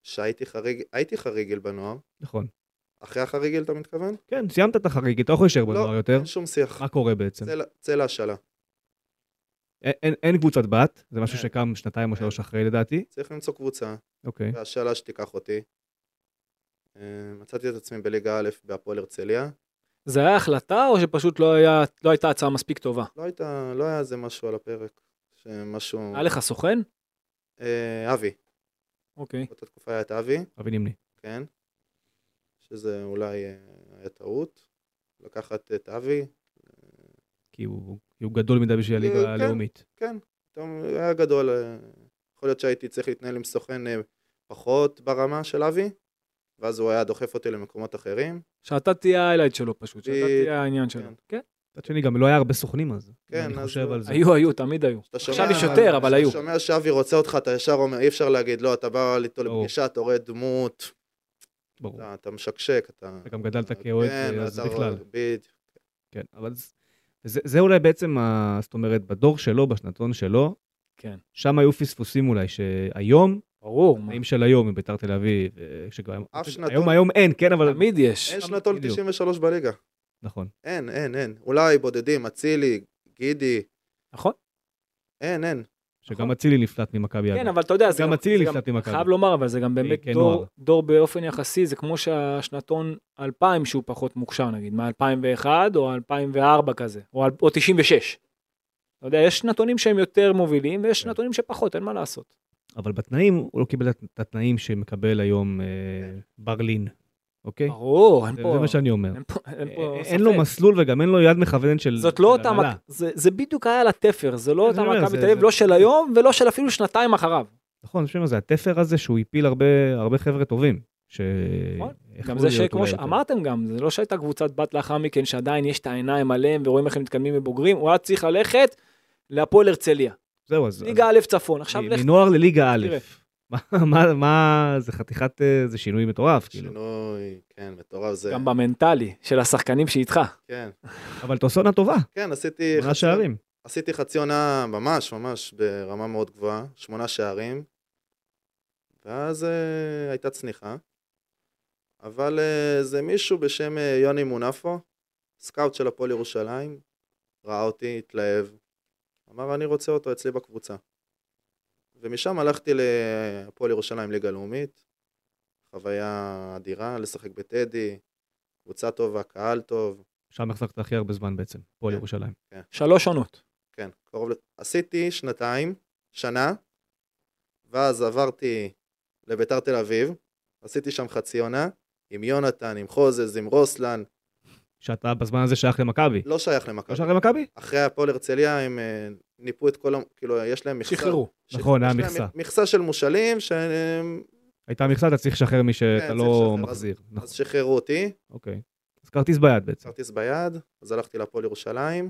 [SPEAKER 4] שהייתי חריג, הייתי חריגל בנוער.
[SPEAKER 2] נכון.
[SPEAKER 4] אחרי החריגל אתה מתכוון?
[SPEAKER 2] כן, סיימת את החריג, אתה לא יכול להישאר בנוער יותר. אה, כן.
[SPEAKER 4] אין שום שיח.
[SPEAKER 2] מה קורה בעצם?
[SPEAKER 4] צא לה- צא להשאלה.
[SPEAKER 2] אין- אין- אין קבוצת בת, זה משהו
[SPEAKER 4] אין.
[SPEAKER 2] שקם שנתיים או
[SPEAKER 4] אין.
[SPEAKER 2] שלוש אחרי לדעתי.
[SPEAKER 4] צריך למצוא קבוצה,
[SPEAKER 2] אוקיי,
[SPEAKER 4] והשאלה שתיקח אותי. אה, מצאתי את עצמי בליגה א' בהפועל הרצליה.
[SPEAKER 3] זה היה החלטה או שפשוט לא היה- לא הייתה הצעה מספיק טובה?
[SPEAKER 4] לא הייתה, לא היה איזה משהו על הפרק. שמשהו...
[SPEAKER 3] היה לך סוכן?
[SPEAKER 4] אה, אבי.
[SPEAKER 3] אוקיי.
[SPEAKER 4] באותה תקופה היה את אבי,
[SPEAKER 2] אבי נימני.
[SPEAKER 4] כן. שזה אולי אה, היה טעות. לקחת את אבי,
[SPEAKER 2] כי הוא כי הוא גדול מדי בשביל
[SPEAKER 4] אה, כן.
[SPEAKER 2] הליגה הלאומית.
[SPEAKER 4] כן, פתאום היה גדול. אה, יכול להיות שהייתי צריך להתנהל עם סוכן אה, פחות ברמה של אבי, ואז הוא היה דוחף אותי למקומות אחרים.
[SPEAKER 3] שאתה תהיה האיילייט שלו פשוט, שאתה
[SPEAKER 4] בדיוק,
[SPEAKER 3] תהיה העניין שלו.
[SPEAKER 4] כן.
[SPEAKER 3] כן.
[SPEAKER 2] מצד שני, גם לא היה הרבה סוכנים אז.
[SPEAKER 4] כן,
[SPEAKER 2] אני
[SPEAKER 4] אז
[SPEAKER 2] חושב
[SPEAKER 4] לא-
[SPEAKER 2] על זה.
[SPEAKER 3] היו, היו, תמיד היו.
[SPEAKER 4] אתה
[SPEAKER 3] עכשיו
[SPEAKER 4] שומע-
[SPEAKER 3] יש יותר, אבל היו.
[SPEAKER 4] כשאתה שומע שאבי רוצה אותך, אתה ישר אומר, אי אפשר להגיד, לא, אתה בא איתו
[SPEAKER 2] ברור.
[SPEAKER 4] לפגישה, אתה רואה דמות,
[SPEAKER 2] ברור.
[SPEAKER 4] אתה- אתה משקשק, אתה...
[SPEAKER 2] אתה גם גדלת כאוהד,
[SPEAKER 4] כן,
[SPEAKER 2] אז
[SPEAKER 4] אתה רואה-
[SPEAKER 2] בכלל.
[SPEAKER 4] בדיוק.
[SPEAKER 2] כן, אבל זה- זה זה אולי בעצם, ה- זאת אומרת, בדור שלו, בשנתון שלו,
[SPEAKER 3] כן.
[SPEAKER 2] שם היו פספוסים אולי, שהיום,
[SPEAKER 3] ברור. מה.
[SPEAKER 2] התנאים של היום מביתר תל אביב, אה, שגם...
[SPEAKER 4] אף שנתון-
[SPEAKER 2] היום היום אין, כן, אבל...
[SPEAKER 3] תמיד יש.
[SPEAKER 4] אין שנתון
[SPEAKER 2] בדיוק.
[SPEAKER 4] 93 בליגה.
[SPEAKER 2] נכון.
[SPEAKER 4] אין, אין, אין. אולי בודדים, אצילי, גידי,
[SPEAKER 3] נכון?
[SPEAKER 4] אין, אין.
[SPEAKER 2] שגם אצילי נפלט ממכבי
[SPEAKER 3] כן,
[SPEAKER 2] אגב.
[SPEAKER 3] אבל אתה יודע, זה
[SPEAKER 2] גם אצילי נפלט ממכבי.
[SPEAKER 3] חייב לומר, אבל זה גם באמת
[SPEAKER 2] כנוער.
[SPEAKER 3] דור- דור באופן יחסי, זה כמו שהשנתון 2000 שהוא פחות מוכשר נגיד, מ-2001 או 2004 כזה, או אל- או 96. אתה יודע, יש שנתונים שהם יותר מובילים ויש
[SPEAKER 2] כן.
[SPEAKER 3] שנתונים שפחות, אין מה לעשות.
[SPEAKER 2] אבל בתנאים, הוא לא קיבל את התנאים שמקבל היום אה,
[SPEAKER 4] כן.
[SPEAKER 2] ברלין, אוקיי?
[SPEAKER 3] ברור, אין
[SPEAKER 2] זה
[SPEAKER 3] נכון. פה...
[SPEAKER 2] זה מה שאני אומר. אה,
[SPEAKER 3] אין פה- אין פה
[SPEAKER 2] אין לו
[SPEAKER 3] ספק.
[SPEAKER 2] מסלול וגם אין לו יד מכוונת של
[SPEAKER 3] זאת לא
[SPEAKER 2] של
[SPEAKER 3] אותה,
[SPEAKER 2] הנהלה.
[SPEAKER 3] מק- זה זה בדיוק היה על התפר, זה לא
[SPEAKER 2] כן,
[SPEAKER 3] אותה
[SPEAKER 2] אני אומר,
[SPEAKER 3] מכבי
[SPEAKER 2] זה-
[SPEAKER 3] תל אביב,
[SPEAKER 2] זה-
[SPEAKER 3] לא של היום ולא של אפילו שנתיים אחריו.
[SPEAKER 2] נכון, אני אומר, זה התפר הזה שהוא הפיל הרבה הרבה חבר'ה טובים. ש...
[SPEAKER 3] נכון.
[SPEAKER 2] יכלו
[SPEAKER 3] גם זה
[SPEAKER 2] להיות
[SPEAKER 3] שכמו
[SPEAKER 2] אולי יותר.
[SPEAKER 3] שאמרתם גם, זה לא שהייתה קבוצת בת לאחר מכן שעדיין יש את העיניים עליהם ורואים איך הם מתקדמים מבוגרים, הוא היה צריך ללכת להפועל הרצליה.
[SPEAKER 2] זהו, אז...
[SPEAKER 3] ליגה א' צפון, עכשיו
[SPEAKER 2] מ-
[SPEAKER 3] לך...
[SPEAKER 2] מנוער לליגה א'.
[SPEAKER 3] תראה.
[SPEAKER 2] מה- מה, מה, זה חתיכת, אה, זה שינוי מטורף, כאילו.
[SPEAKER 4] שינוי, כן, מטורף זה.
[SPEAKER 3] גם במנטלי של השחקנים שאיתך.
[SPEAKER 4] כן,
[SPEAKER 2] אבל אתה עושה עונה טובה,
[SPEAKER 4] כן,
[SPEAKER 3] אה,
[SPEAKER 4] עשיתי...
[SPEAKER 2] עונה שערים.
[SPEAKER 4] עשיתי חצי עונה ממש ממש ברמה מאוד גבוהה, שמונה שערים, ואז uh, הייתה צניחה, אבל uh, זה מישהו בשם uh, יוני מונפו, סקאוט של הפועל ירושלים, ראה אותי, התלהב, אמר אני רוצה אותו אצלי בקבוצה. ומשם הלכתי להפועל ירושלים ליגה לאומית, חוויה אדירה, לשחק בטדי, קבוצה טובה, קהל טוב,
[SPEAKER 2] שם החזקת הכי הרבה זמן בעצם, פה
[SPEAKER 4] כן.
[SPEAKER 2] לירושלים.
[SPEAKER 3] שלוש עונות.
[SPEAKER 4] כן, קרוב ל... עשיתי שנתיים, שנה, ואז עברתי לביתר תל אביב, עשיתי שם חצי עונה, עם יונתן, עם חוזז, עם רוסלן,
[SPEAKER 2] שאתה בזמן הזה שייך למכבי.
[SPEAKER 3] נכון.
[SPEAKER 4] לא שייך
[SPEAKER 2] לא
[SPEAKER 4] למכבי.
[SPEAKER 2] שייך למכבי?
[SPEAKER 4] אחרי הפועל הרצליה הם אה, ניפו את כל ה... כאילו, יש להם מכסה.
[SPEAKER 3] שחררו.
[SPEAKER 4] שח-
[SPEAKER 2] נכון, היה
[SPEAKER 4] יש להם
[SPEAKER 2] מכסה.
[SPEAKER 4] מכסה של מושאלים, שהם...
[SPEAKER 2] הייתה מכסה, אתה צריך לשחרר מי
[SPEAKER 4] כן,
[SPEAKER 2] שאתה
[SPEAKER 4] צריך
[SPEAKER 2] לא
[SPEAKER 4] לשחרר, אז-
[SPEAKER 2] מחזיר. נכון,
[SPEAKER 4] אז שחררו אותי,
[SPEAKER 2] אוקיי. אז כרטיס ביד בעצם.
[SPEAKER 4] כרטיס ביד, אז הלכתי להפועל ירושלים,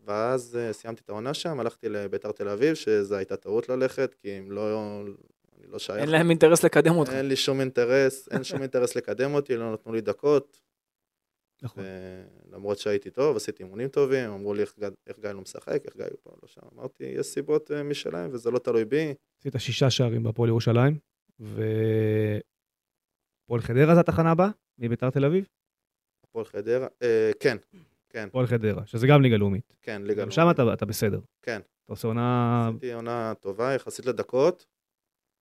[SPEAKER 4] ואז אה, סיימתי את העונה שם, הלכתי לביתר תל אביב, שזו הייתה טעות ללכת, כי אם לא... אני לא שייך.
[SPEAKER 3] אין להם אינטרס לקדם אותך.
[SPEAKER 4] אין לי שום אינטרס, אין שום אינטרס לקדם אותי, לא נתנו לי דקות,
[SPEAKER 2] נכון.
[SPEAKER 4] למרות שהייתי טוב, עשיתי אימונים טובים, אמרו לי איך גד- איך גיא לא משחק, איך גיא הוא פה לא שם, אמרתי, יש סיבות אה, משלהם וזה לא תלוי בי,
[SPEAKER 2] עשית שישה שערים בהפועל ירושלים, והפועל חדרה זה התחנה הבאה, מביתר תל אביב?
[SPEAKER 4] הפועל חדרה, אה, כן,
[SPEAKER 2] הפועל חדרה, שזה גם ליגה לאומית.
[SPEAKER 4] כן, ליגה
[SPEAKER 2] גם
[SPEAKER 4] לאומית.
[SPEAKER 2] שם אתה- אתה בסדר.
[SPEAKER 4] כן.
[SPEAKER 2] אתה עושה עונה...
[SPEAKER 4] עשיתי עונה טובה יחסית לדקות.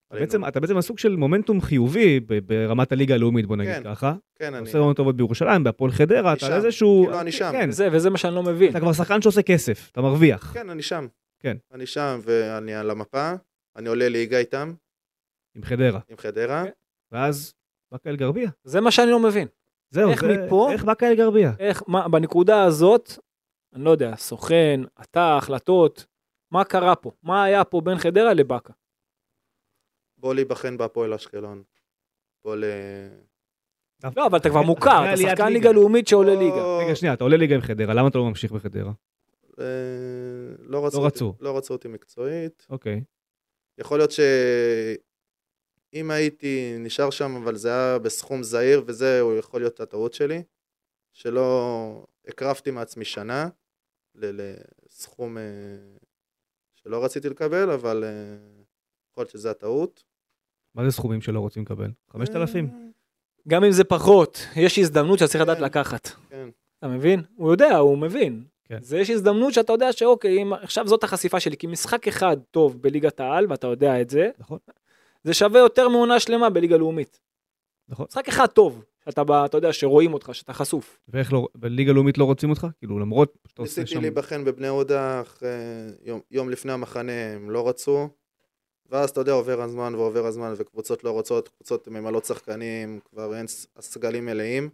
[SPEAKER 4] עלינו-
[SPEAKER 2] בעצם, אתה בעצם הסוג של מומנטום חיובי ב- ברמת הליגה הלאומית, בוא נגיד
[SPEAKER 4] כן,
[SPEAKER 2] ככה.
[SPEAKER 4] כן,
[SPEAKER 2] אתה
[SPEAKER 4] אני,
[SPEAKER 2] עושה עונות טובות בירושלים, בהפועל חדרה,
[SPEAKER 4] אני
[SPEAKER 2] אתה
[SPEAKER 4] שם.
[SPEAKER 2] על איזשהו...
[SPEAKER 4] כאילו, אני שם.
[SPEAKER 2] כן,
[SPEAKER 3] זה, וזה מה שאני לא מבין.
[SPEAKER 2] אתה כבר שחקן שעושה כסף, אתה מרוויח.
[SPEAKER 4] כן, אני שם.
[SPEAKER 2] כן.
[SPEAKER 4] אני שם ואני על המפה, אני עולה ליגה איתם,
[SPEAKER 2] עם חדרה.
[SPEAKER 4] עם חדרה.
[SPEAKER 3] כן.
[SPEAKER 2] ואז, באקה אל גרבייה.
[SPEAKER 3] זה מה שאני לא מבין.
[SPEAKER 2] זהו,
[SPEAKER 3] איך
[SPEAKER 2] זה-
[SPEAKER 3] מפה-
[SPEAKER 2] איך באקה אל גרבייה?
[SPEAKER 3] איך, מה, בנקודה הזאת, אני לא יודע, סוכן, אתה, החלטות, מה קרה פה? מה היה פה בין חדרה לבאקה?
[SPEAKER 4] בוא להיבחן בהפועל אשקלון. בוא ל...
[SPEAKER 3] לא, אבל אתה כבר
[SPEAKER 2] אחרי-
[SPEAKER 3] מוכר,
[SPEAKER 2] אחרי
[SPEAKER 3] אתה
[SPEAKER 2] עליית
[SPEAKER 3] שחקן
[SPEAKER 2] ליגה.
[SPEAKER 3] ליגה לאומית שעולה ליגה.
[SPEAKER 4] בוא-
[SPEAKER 2] רגע, שנייה, אתה עולה ליגה עם חדרה, למה אתה לא ממשיך בחדרה?
[SPEAKER 4] אה, לא רצו.
[SPEAKER 2] לא
[SPEAKER 4] אותי-
[SPEAKER 2] רצו.
[SPEAKER 4] לא רצו אותי מקצועית.
[SPEAKER 2] אוקיי.
[SPEAKER 4] יכול להיות שאם הייתי נשאר שם, אבל זה היה בסכום זעיר, וזה יכול להיות הטעות שלי, שלא הקרבתי מעצמי שנה ל- לסכום אה, שלא רציתי לקבל, אבל אה, יכול להיות שזה הטעות.
[SPEAKER 2] מה זה סכומים שלא רוצים לקבל?
[SPEAKER 4] אה.
[SPEAKER 2] 5,000.
[SPEAKER 3] גם אם זה פחות, יש הזדמנות שאתה צריך לדעת
[SPEAKER 4] כן.
[SPEAKER 3] לקחת.
[SPEAKER 4] כן.
[SPEAKER 3] אתה מבין? הוא יודע, הוא מבין.
[SPEAKER 2] כן.
[SPEAKER 3] זה יש הזדמנות שאתה יודע שאוקיי, אם עכשיו זאת החשיפה שלי, כי משחק אחד טוב בליגת העל, ואתה יודע את זה,
[SPEAKER 2] נכון.
[SPEAKER 3] זה שווה יותר מעונה שלמה בליגה לאומית.
[SPEAKER 2] נכון.
[SPEAKER 3] משחק אחד טוב, שאתה, ב- אתה יודע שרואים אותך, שאתה חשוף.
[SPEAKER 2] ואיך לא, בליגה לאומית לא רוצים אותך? כאילו, למרות שאתה עושה
[SPEAKER 4] ניסיתי
[SPEAKER 2] שם...
[SPEAKER 4] להיבחן בבני יהודה אחרי יום, יום לפני המחנה, הם לא רצו. ואז אתה יודע, עובר הזמן ועובר הזמן, וקבוצות לא רוצות, קבוצות ממלאות שחקנים, כבר אין ס- הסגלים מלאים.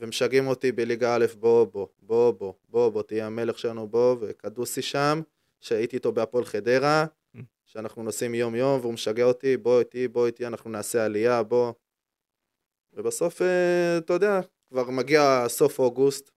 [SPEAKER 4] ומשגעים אותי בליגה א', בוא, בוא, בוא, בוא, בוא, בוא, תהיה המלך שלנו, בוא, וקדוסי שם, שהייתי איתו בהפועל חדרה,
[SPEAKER 2] Mm.
[SPEAKER 4] שאנחנו נוסעים יום-יום, והוא משגע אותי, בוא איתי, בוא איתי, אנחנו נעשה עלייה, בוא. ובסוף, אה, אתה יודע, כבר מגיע סוף אוגוסט,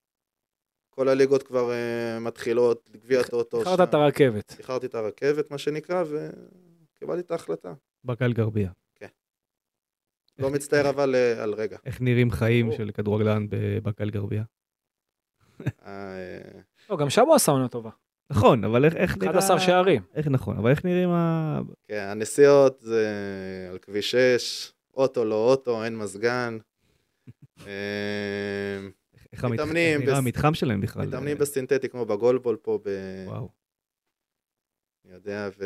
[SPEAKER 4] כל הליגות כבר אה, מתחילות, גביע טוטו.
[SPEAKER 3] איחרת
[SPEAKER 4] שם.
[SPEAKER 3] את הרכבת.
[SPEAKER 4] איחרתי את הרכבת, מה שנקרא, וקיבלתי את ההחלטה.
[SPEAKER 2] באקה אל גרבייה.
[SPEAKER 4] כן.
[SPEAKER 2] איך-
[SPEAKER 4] לא מצטער אבל אה, על רגע.
[SPEAKER 2] איך נראים חיים
[SPEAKER 3] ברור.
[SPEAKER 2] של כדורגלן בבאקה אל גרבייה?
[SPEAKER 4] אה,
[SPEAKER 3] לא, גם שם הוא עשה עונה טובה.
[SPEAKER 2] נכון, אבל איך- איך נראה...
[SPEAKER 3] 11 שערים.
[SPEAKER 2] איך נכון, אבל איך נראים ה...
[SPEAKER 4] כן, הנסיעות זה על כביש 6, אוטו לא אוטו, אין מזגן. אה,
[SPEAKER 2] איך המתח-
[SPEAKER 4] מתאמנים
[SPEAKER 2] איך נראה
[SPEAKER 4] בס-
[SPEAKER 2] המתחם שלהם בכלל?
[SPEAKER 4] מתאמנים
[SPEAKER 3] אה,
[SPEAKER 4] בסינתטי כמו בגולבול פה, ב...
[SPEAKER 2] וואו.
[SPEAKER 4] אני יודע, ו...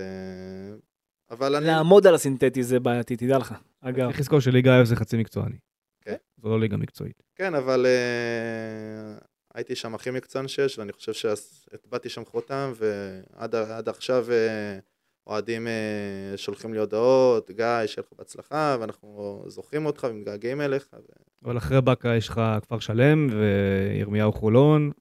[SPEAKER 4] אבל אני...
[SPEAKER 3] לעמוד על הסינתטי זה בעייתי, תדע לך. אגב,
[SPEAKER 2] צריך לזכור שליגה א' זה חצי מקצועני.
[SPEAKER 4] כן.
[SPEAKER 2] זו לא ליגה מקצועית.
[SPEAKER 4] כן, אבל אה, הייתי שם הכי מקצוען שיש, ואני חושב שהטבעתי שם חותם, ועד ה- עד עכשיו אה, אוהדים אה, שולחים לי הודעות, גיא, שיהיה לך בהצלחה, ואנחנו זוכרים אותך ומתגעגעים אליך. ו-
[SPEAKER 2] אבל אחרי באקה יש לך כפר שלם וירמיהו חולון.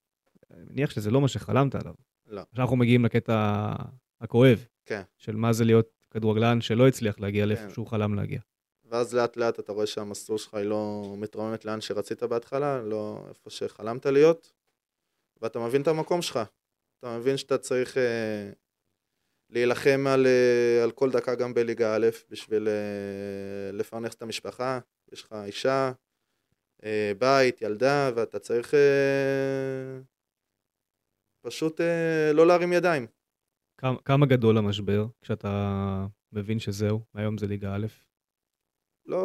[SPEAKER 2] אני מניח שזה לא מה שחלמת עליו.
[SPEAKER 4] לא.
[SPEAKER 2] עכשיו אנחנו מגיעים לקטע הכואב.
[SPEAKER 4] כן.
[SPEAKER 2] של מה זה להיות כדורגלן שלא הצליח להגיע לאיפה
[SPEAKER 4] כן.
[SPEAKER 2] שהוא חלם להגיע.
[SPEAKER 4] ואז לאט לאט אתה רואה שהמסלול שלך היא לא מתרוממת לאן שרצית בהתחלה, לא איפה שחלמת להיות, ואתה מבין את המקום שלך. אתה מבין שאתה צריך אה, להילחם על, אה, על כל דקה גם בליגה א', בשביל אה, לפרנס את המשפחה, יש לך אישה, אה, בית, ילדה, ואתה צריך אה, פשוט אה, לא להרים ידיים.
[SPEAKER 2] כמה- כמה גדול המשבר כשאתה מבין שזהו, היום זה ליגה א'.
[SPEAKER 4] לא,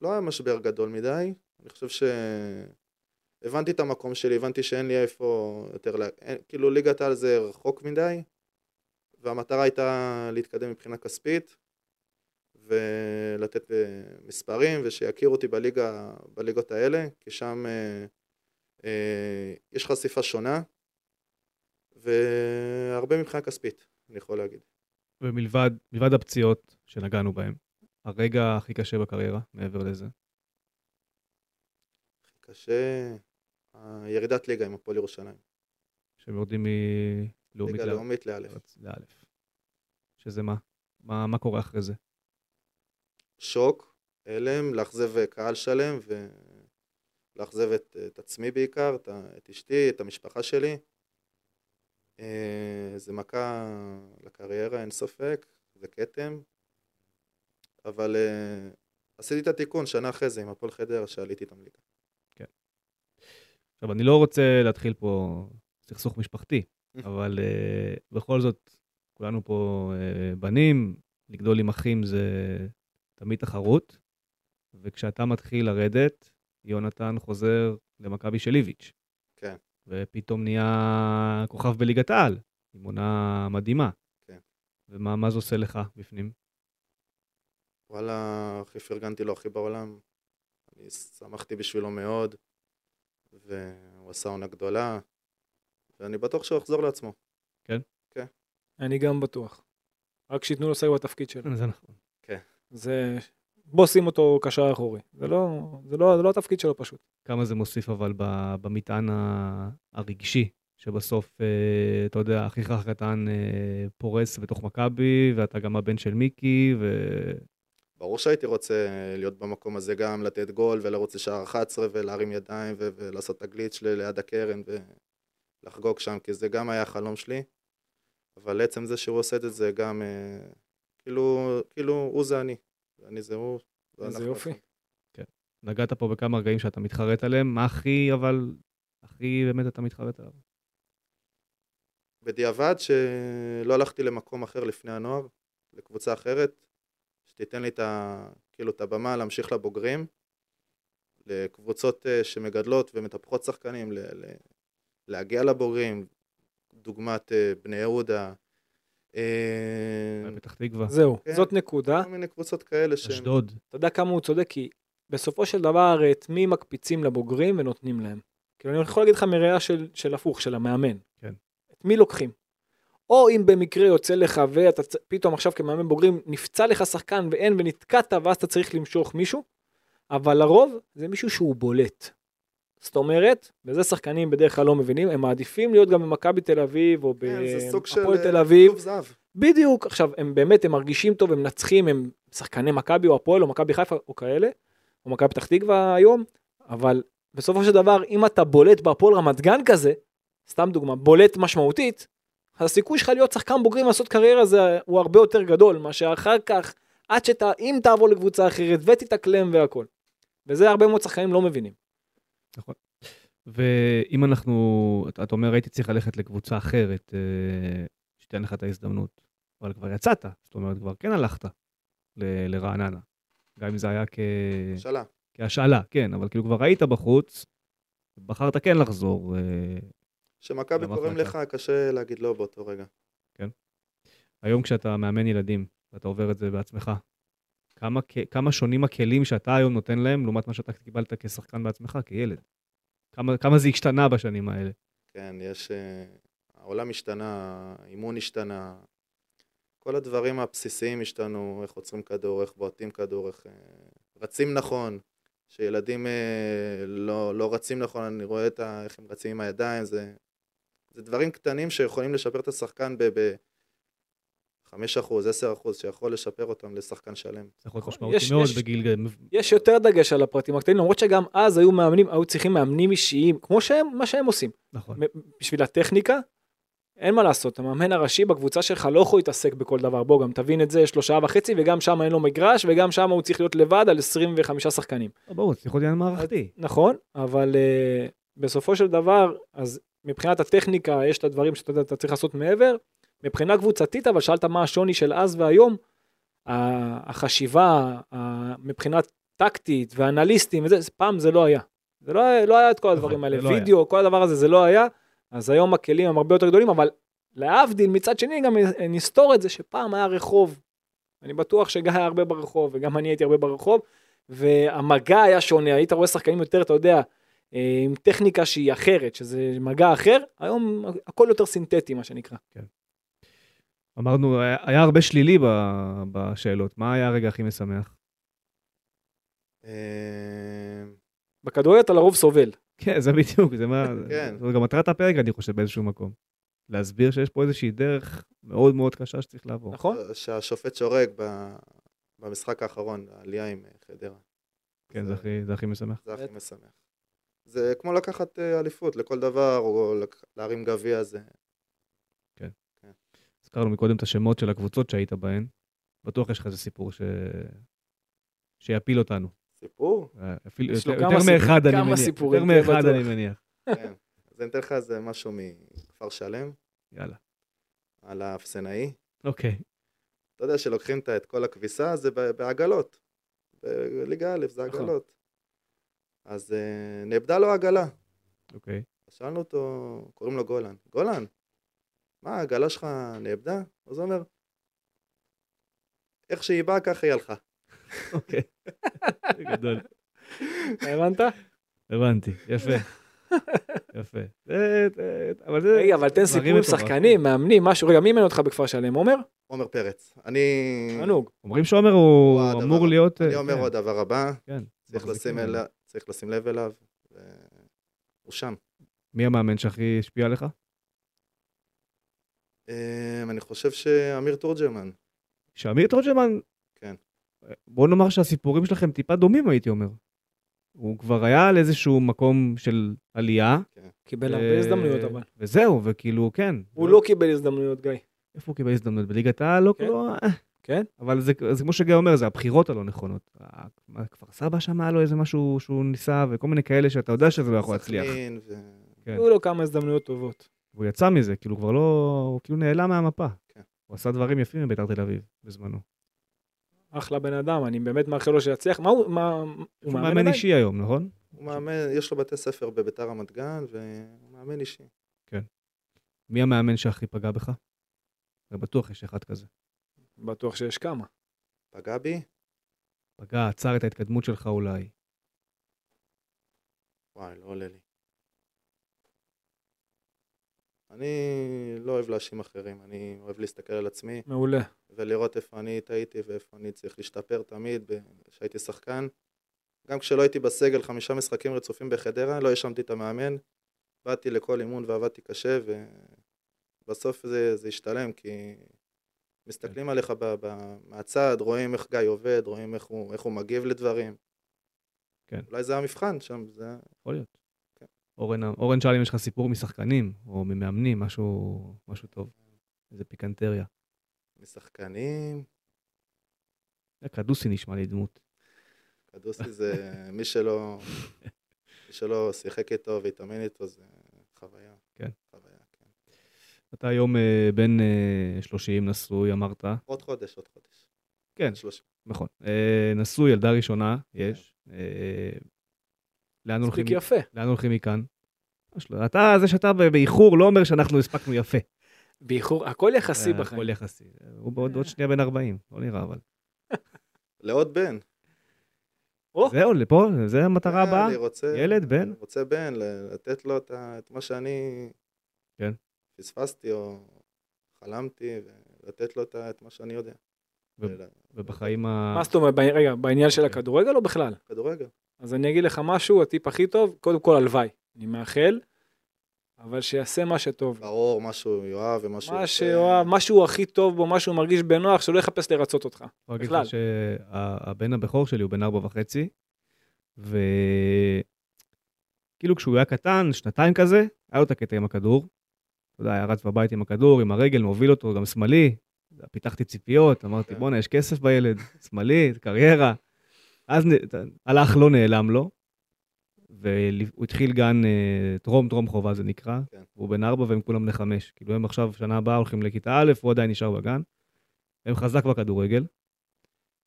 [SPEAKER 4] לא היה משבר גדול מדי. אני חושב שהבנתי את המקום שלי, הבנתי שאין לי איפה יותר, לה- אין, כאילו ליגת העל זה רחוק מדי, והמטרה הייתה להתקדם מבחינה כספית, ולתת אה, מספרים, ושיכירו אותי בליגה, בליגות האלה, כי שם אה, אה, יש חשיפה שונה, והרבה מבחינה כספית, אני יכול להגיד.
[SPEAKER 2] ומלבד מלבד הפציעות שנגענו בהן, הרגע הכי קשה בקריירה, מעבר לזה.
[SPEAKER 4] קשה, הירידת ליגה עם הפועל ירושלים.
[SPEAKER 2] שהם יורדים מלאומית
[SPEAKER 4] ליגה לא'.
[SPEAKER 2] לארץ.
[SPEAKER 4] לאומית לאלף.
[SPEAKER 2] לארץ, לאלף. שזה מה? מה, מה קורה אחרי זה?
[SPEAKER 4] שוק, הלם, לאכזב קהל שלם ולאכזב את, את עצמי בעיקר, את, ה- את אשתי, את המשפחה שלי. אה, זה מכה לקריירה, אין ספק, זה כתם. אבל אה, עשיתי את התיקון שנה אחרי זה עם הפועל חדרה שעליתי איתם ליגה.
[SPEAKER 2] עכשיו, אני לא רוצה להתחיל פה סכסוך משפחתי, אבל uh, בכל זאת, כולנו פה uh, בנים, לגדול עם אחים זה תמיד תחרות, וכשאתה מתחיל לרדת, יונתן חוזר למכבי של איביץ'.
[SPEAKER 4] כן.
[SPEAKER 2] ופתאום נהיה כוכב בליגת העל, עם עונה מדהימה.
[SPEAKER 4] כן.
[SPEAKER 2] ומה מה זה עושה לך בפנים?
[SPEAKER 4] וואלה, הכי פרגנתי לו הכי בעולם. אני שמחתי בשבילו מאוד, והוא עשה עונה גדולה, ואני בטוח שהוא יחזור לעצמו.
[SPEAKER 3] אני גם בטוח. רק שייתנו לו לשחק בתפקיד שלו.
[SPEAKER 2] זה נכון.
[SPEAKER 3] זה בוא שים אותו קשר אחורי. זה לא, זה לא, זה לא התפקיד שלו פשוט.
[SPEAKER 2] כמה זה מוסיף אבל ב- במטען ה- הרגשי, שבסוף, אה, אתה יודע, אחיך הקטן אה, פורס בתוך מכבי, ואתה גם הבן של מיקי, ואתה
[SPEAKER 4] ברור שהייתי רוצה להיות במקום הזה גם, לתת גול ולרוץ לשער 11 ולהרים ידיים ו- ולעשות את הגליץ' ל- ליד הקרן ולחגוג שם, כי זה גם היה החלום שלי. אבל עצם זה שהוא עושה את זה גם, אה, כאילו, כאילו הוא זה אני, ואני זה הוא.
[SPEAKER 3] איזה
[SPEAKER 4] ואנחנו
[SPEAKER 3] יופי.
[SPEAKER 4] אחד.
[SPEAKER 2] נגעת פה בכמה רגעים שאתה מתחרט עליהם, מה הכי, אבל, הכי באמת אתה מתחרט עליו?
[SPEAKER 4] בדיעבד שלא הלכתי למקום אחר לפני הנוער, לקבוצה אחרת, שתיתן לי את, ה, כאילו, את הבמה להמשיך לבוגרים, לקבוצות אה, שמגדלות ומטפחות שחקנים, ל, ל, להגיע לבוגרים, דוגמת אה, בני יהודה, אה,
[SPEAKER 2] אולי פתח תקווה,
[SPEAKER 3] זהו,
[SPEAKER 4] כן.
[SPEAKER 3] זאת נקודה.
[SPEAKER 4] כל מיני קבוצות כאלה שהם...
[SPEAKER 2] אשדוד.
[SPEAKER 3] אתה יודע כמה הוא צודק, כי בסופו של דבר, אה, את מי מקפיצים לבוגרים ונותנים להם. כאילו, אני יכול להגיד לך מראייה של, של הפוך, של המאמן.
[SPEAKER 2] כן.
[SPEAKER 3] את מי לוקחים? או אם במקרה יוצא לך ואתה צ- פתאום עכשיו כמאמן בוגרים, נפצע לך שחקן ואין ונתקעת, ואז אתה צריך למשוך מישהו, אבל לרוב זה מישהו שהוא בולט. זאת אומרת, וזה שחקנים בדרך כלל לא מבינים, הם מעדיפים להיות גם במכבי תל אביב, או
[SPEAKER 4] כן, זה סוג של...
[SPEAKER 3] בהפועל
[SPEAKER 4] אה,
[SPEAKER 3] תל אביב,
[SPEAKER 4] כלוב זהב.
[SPEAKER 3] בדיוק, עכשיו, הם באמת, הם מרגישים טוב, הם מנצחים, הם שחקני מכבי או הפועל או מכבי חיפה או כאלה, או מכבי פתח תקווה היום, אבל בסופו של דבר, אם אתה בולט בהפועל רמת גן כזה, סתם דוגמה, בולט משמעותית, אז הסיכוי שלך להיות שחקן בוגרים לעשות קריירה זה, הוא הרבה יותר גדול, מאשר אחר כך, עד שאתה, אם תעבור לקבוצה אחרת ותתאקלם והכל. וזה הרבה מאוד שחקנים לא מבינים.
[SPEAKER 2] ואם אנחנו, אתה אתה אומר, הייתי צריך ללכת לקבוצה אחרת, אה, שתיתן לך את ההזדמנות. אבל כבר יצאת, זאת אומרת, כבר כן הלכת ל- לרעננה. גם אם זה היה כ...
[SPEAKER 4] שאלה.
[SPEAKER 2] כהשאלה, כן, אבל כאילו כבר היית בחוץ, בחרת כן לחזור. אה,
[SPEAKER 4] שמכבי
[SPEAKER 2] למה
[SPEAKER 4] קוראים לך,
[SPEAKER 2] החלטה? היום,
[SPEAKER 4] קשה להגיד לא באותו רגע.
[SPEAKER 2] כשאתה מאמן ילדים, ואתה עובר את זה בעצמך, כמה, כ- כמה שונים הכלים שאתה היום נותן להם, לעומת מה שאתה קיבלת כשחקן בעצמך, כילד? כמה, כמה זה השתנה בשנים האלה?
[SPEAKER 4] כן, יש... אה, העולם השתנה, האימון השתנה, כל הדברים הבסיסיים השתנו, איך עוצרים כדור, איך בועטים כדור, איך אה, רצים נכון, שילדים אה, לא, לא רצים נכון, אני רואה את ה, איך הם רצים עם הידיים, זה, זה דברים קטנים שיכולים לשפר את השחקן ב... ב 5%, 10% שיכול לשפר אותם לשחקן שלם.
[SPEAKER 2] צריך להיות
[SPEAKER 3] נכון,
[SPEAKER 2] משמעותי
[SPEAKER 3] יש-
[SPEAKER 2] מאוד
[SPEAKER 3] יש-
[SPEAKER 2] בגיל...
[SPEAKER 3] יש יותר דגש על הפרטים הקטנים, למרות שגם אז היו מאמנים, היו צריכים מאמנים אישיים, כמו שהם, מה שהם עושים.
[SPEAKER 2] נכון.
[SPEAKER 3] מ- בשביל הטכניקה, אין מה לעשות, המאמן הראשי בקבוצה שלך לא יכול להתעסק בכל דבר, בוא גם תבין את זה, יש לו שעה וחצי וגם שם אין לו מגרש וגם שם הוא צריך להיות לבד על 25 שחקנים.
[SPEAKER 2] לא, ברור, צריך להיות עניין מערכתי.
[SPEAKER 3] נכון, אבל uh, בסופו של דבר, אז מבחינת הטכניקה יש את הדברים שאתה יודע, אתה צריך לעשות מעבר. מבחינה קבוצתית, אבל שאלת מה השוני של אז והיום, ה- החשיבה, ה- מבחינה טקטית ואנליסטים, וזה, פעם זה לא היה. זה לא, היה- לא היה את כל הדברים
[SPEAKER 2] נכון,
[SPEAKER 3] האלה,
[SPEAKER 2] זה לא היה.
[SPEAKER 3] וידאו, כל הדבר הזה, זה לא היה. אז היום הכלים הם הרבה יותר גדולים, אבל להבדיל, מצד שני גם נסתור את זה שפעם היה רחוב. אני בטוח שגיא היה הרבה ברחוב, וגם אני הייתי הרבה ברחוב, והמגע היה שונה, היית רואה שחקנים יותר, אתה יודע, אה, עם טכניקה שהיא אחרת, שזה מגע אחר, היום הכל יותר סינתטי, מה שנקרא.
[SPEAKER 2] אמרנו, היה, היה הרבה שלילי ב- בשאלות. מה היה הרגע הכי משמח?
[SPEAKER 4] אה,
[SPEAKER 3] בכדורגל אתה לרוב סובל.
[SPEAKER 2] כן, זה בדיוק, זה מה...
[SPEAKER 4] כן.
[SPEAKER 2] זו גם מטרת הפרק, אני חושב, באיזשהו מקום. להסביר שיש פה איזושהי דרך מאוד מאוד קשה שצריך לעבור.
[SPEAKER 3] נכון?
[SPEAKER 4] שהשופט שורק ב- במשחק האחרון, העלייה עם אה, חדרה.
[SPEAKER 2] כן, זה הכי, זה הכי משמח.
[SPEAKER 4] זה הכי
[SPEAKER 3] בטח.
[SPEAKER 4] משמח. זה כמו לקחת אה, אליפות לכל דבר, או לק- להרים גביע זה.
[SPEAKER 2] הזכרנו מקודם את השמות של הקבוצות שהיית בהן. בטוח יש לך איזה סיפור ש... שיפיל אותנו.
[SPEAKER 4] סיפור?
[SPEAKER 2] אה, אפילו
[SPEAKER 3] יש
[SPEAKER 2] יותר,
[SPEAKER 3] לו
[SPEAKER 2] יותר
[SPEAKER 3] כמה סיפור-
[SPEAKER 2] מאחד, אני
[SPEAKER 3] כמה
[SPEAKER 2] מניח.
[SPEAKER 3] סיפורים,
[SPEAKER 2] יותר
[SPEAKER 3] כן,
[SPEAKER 2] מאחד,
[SPEAKER 3] בטוח.
[SPEAKER 2] אני מניח.
[SPEAKER 4] כן. אז אני אתן לך איזה משהו מכפר שלם,
[SPEAKER 2] יאללה.
[SPEAKER 4] על האפסנאי.
[SPEAKER 2] אוקיי.
[SPEAKER 4] אתה יודע שלוקחים את- את כל הכביסה, זה ב- בעגלות. בליגה א' זה
[SPEAKER 2] נכון.
[SPEAKER 4] עגלות. אז אה, נאבדה לו עגלה.
[SPEAKER 2] אוקיי.
[SPEAKER 4] אז שאלנו אותו, קוראים לו גולן. גולן, מה, העגלה שלך נאבדה? אז הוא אומר, איך שהיא באה, ככה היא הלכה.
[SPEAKER 2] אוקיי. גדול.
[SPEAKER 3] הבנת?
[SPEAKER 2] הבנתי. יפה. יפה. זה- זה- אבל זה...
[SPEAKER 3] רגע, אבל תן
[SPEAKER 2] דברים
[SPEAKER 3] סיפור עם
[SPEAKER 2] מטורפים.
[SPEAKER 3] שחקנים, מאמנים, משהו. רגע, מי אימן אותך בכפר שלם? עומר?
[SPEAKER 4] עומר פרץ. אני...
[SPEAKER 2] אה.
[SPEAKER 3] תענוג.
[SPEAKER 2] אומרים שעומר הוא
[SPEAKER 4] הוא הדבר
[SPEAKER 2] אמור
[SPEAKER 4] הבא.
[SPEAKER 2] להיות...
[SPEAKER 4] אני
[SPEAKER 2] אה,
[SPEAKER 4] אומר
[SPEAKER 2] כן,
[SPEAKER 4] עוד דבר הבא,
[SPEAKER 2] כן.
[SPEAKER 4] צריך לשים
[SPEAKER 2] מחזיקים.
[SPEAKER 4] אליו- צריך לשים לב אליו, ו- הוא שם.
[SPEAKER 2] מי המאמן שהכי השפיע עליך?
[SPEAKER 4] אמ, אני חושב שאמיר תורג'רמן,
[SPEAKER 2] שעמיר תורג'מן...
[SPEAKER 4] כן.
[SPEAKER 2] בוא נאמר שהסיפורים שלכם טיפה דומים, הייתי אומר. הוא כבר היה על איזשהו מקום של עלייה.
[SPEAKER 3] קיבל
[SPEAKER 2] אה,
[SPEAKER 3] הרבה הזדמנויות אבל.
[SPEAKER 2] וזהו, וכאילו, כן.
[SPEAKER 3] הוא לא קיבל הזדמנויות, גיא.
[SPEAKER 2] איפה הוא קיבל הזדמנות? בליגת העל? לא,
[SPEAKER 3] כן.
[SPEAKER 2] לא...
[SPEAKER 3] כן.
[SPEAKER 2] אבל זה, זה כמו שגיא אומר, זה הבחירות הלא נכונות. ה- מה, כפר סבא שם היה לו איזה משהו שהוא ניסה, וכל מיני כאלה שאתה יודע שזה לא יכול להצליח.
[SPEAKER 4] סכנין, ו-
[SPEAKER 2] כן.
[SPEAKER 3] היו לו כמה הזדמנויות טובות.
[SPEAKER 2] והוא יצא מזה, כאילו, הוא כבר לא... הוא כאילו נעלם מהמפה.
[SPEAKER 4] כן.
[SPEAKER 2] הוא עשה דברים יפים מביתר תל אביב בזמנו.
[SPEAKER 3] אחלה בן אדם, אני באמת מאחל לו שיצליח. מה הוא, מה... הוא
[SPEAKER 2] הוא
[SPEAKER 3] מאמן
[SPEAKER 2] מאמן
[SPEAKER 3] עדיין?
[SPEAKER 2] אישי היום, נכון?
[SPEAKER 4] הוא מאמן, יש לו בתי ספר בביתר רמת גן, והוא מאמן אישי.
[SPEAKER 2] מי המאמן שהכי פגע בך? הרי בטוח יש אחד כזה.
[SPEAKER 3] בטוח שיש כמה.
[SPEAKER 4] פגע בי,
[SPEAKER 2] פגע, עצר את ההתקדמות שלך אולי.
[SPEAKER 4] וואי, לא עולה לי. אני לא אוהב להאשים אחרים, אני אוהב להסתכל על עצמי
[SPEAKER 3] מעולה.
[SPEAKER 4] ולראות איפה אני טעיתי ואיפה אני צריך להשתפר תמיד ב- כשהייתי שחקן. גם כשלא הייתי בסגל חמישה משחקים רצופים בחדרה, לא האשמתי את המאמן. באתי לכל אימון ועבדתי קשה, ובסוף זה, זה השתלם, כי מסתכלים עליך ב, ב, מהצד, רואים איך גיא עובד, רואים איך הוא, איך הוא מגיב לדברים.
[SPEAKER 2] כן.
[SPEAKER 4] אולי זה המבחן שם, זה...
[SPEAKER 2] יכול להיות.
[SPEAKER 4] כן.
[SPEAKER 2] אורן, אורן שאל אם יש לך סיפור משחקנים, או ממאמנים, משהו, משהו טוב. איזה פיקנטריה.
[SPEAKER 4] משחקנים,
[SPEAKER 2] קדוסי נשמע לי דמות.
[SPEAKER 4] קדוסי זה מי שלא, מי שלא שיחק איתו והתאמן איתו, זה חוויה.
[SPEAKER 2] כן.
[SPEAKER 4] חוויה, כן.
[SPEAKER 2] אתה היום אה, בן אה, 30, נשוי, אמרת.
[SPEAKER 4] עוד חודש, עוד חודש.
[SPEAKER 2] כן,
[SPEAKER 4] שלוש...
[SPEAKER 2] נכון. אה, נשוי, ילדה ראשונה, יש. אה, לאן הולכים
[SPEAKER 3] מספיק יפה.
[SPEAKER 2] לאן הולכים מכאן? ממש לא. אתה, זה שאתה ב- באיחור לא אומר שאנחנו הספקנו יפה.
[SPEAKER 3] באיחור, הכל יחסי
[SPEAKER 2] אה,
[SPEAKER 3] בחיים.
[SPEAKER 2] הכל יחסי. הוא בעוד עוד שנייה בן 40, לא נראה אבל.
[SPEAKER 4] לעוד בן.
[SPEAKER 3] או,
[SPEAKER 2] זהו, לפה, זה המטרה
[SPEAKER 4] אה,
[SPEAKER 2] הבאה.
[SPEAKER 4] אני רוצה...
[SPEAKER 2] ילד, בן?
[SPEAKER 4] אני רוצה בן, ל- לתת לו את, ה... את מה שאני...
[SPEAKER 2] כן.
[SPEAKER 4] פספסתי או חלמתי, ולתת לו את, ה... את מה שאני יודע.
[SPEAKER 2] ו- ובחיים ה...
[SPEAKER 3] מה זאת אומרת, בעני- רגע, בעניין של
[SPEAKER 2] אוקיי.
[SPEAKER 3] הכדורגל או בכלל?
[SPEAKER 4] כדורגל.
[SPEAKER 3] אז אני אגיד לך משהו, הטיפ הכי טוב, קודם כל הלוואי. אני מאחל, אבל שיעשה מה שטוב. לו.
[SPEAKER 4] ברור, מה שהוא יאהב ומה שהוא...
[SPEAKER 3] מה
[SPEAKER 4] ירצה.
[SPEAKER 3] שאוהב, מה שהוא הכי טוב בו, מה שהוא מרגיש בנוח, שלא יחפש לרצות אותך.
[SPEAKER 2] יכול להגיד
[SPEAKER 3] בכלל.
[SPEAKER 2] לך שהבן הבכור שלי הוא בן ארבע וחצי, וכאילו כאילו כשהוא היה קטן, שנתיים כזה, היה לו את הקטע עם הכדור. אתה יודע, היה רץ בבית עם הכדור, עם הרגל, מוביל אותו, גם שמאלי. פיתחתי ציפיות, אמרתי,
[SPEAKER 4] כן.
[SPEAKER 2] בואנה, יש כסף בילד, שמאלי, קריירה. אז נ- ת- הלך, לא נעלם לו, והוא התחיל גן אה, טרום, טרום חובה זה נקרא,
[SPEAKER 4] כן.
[SPEAKER 2] והוא בן ארבע והם כולם בני חמש. כאילו הם עכשיו, שנה הבאה הולכים לכיתה א', הוא עדיין נשאר בגן. הם חזק בכדורגל,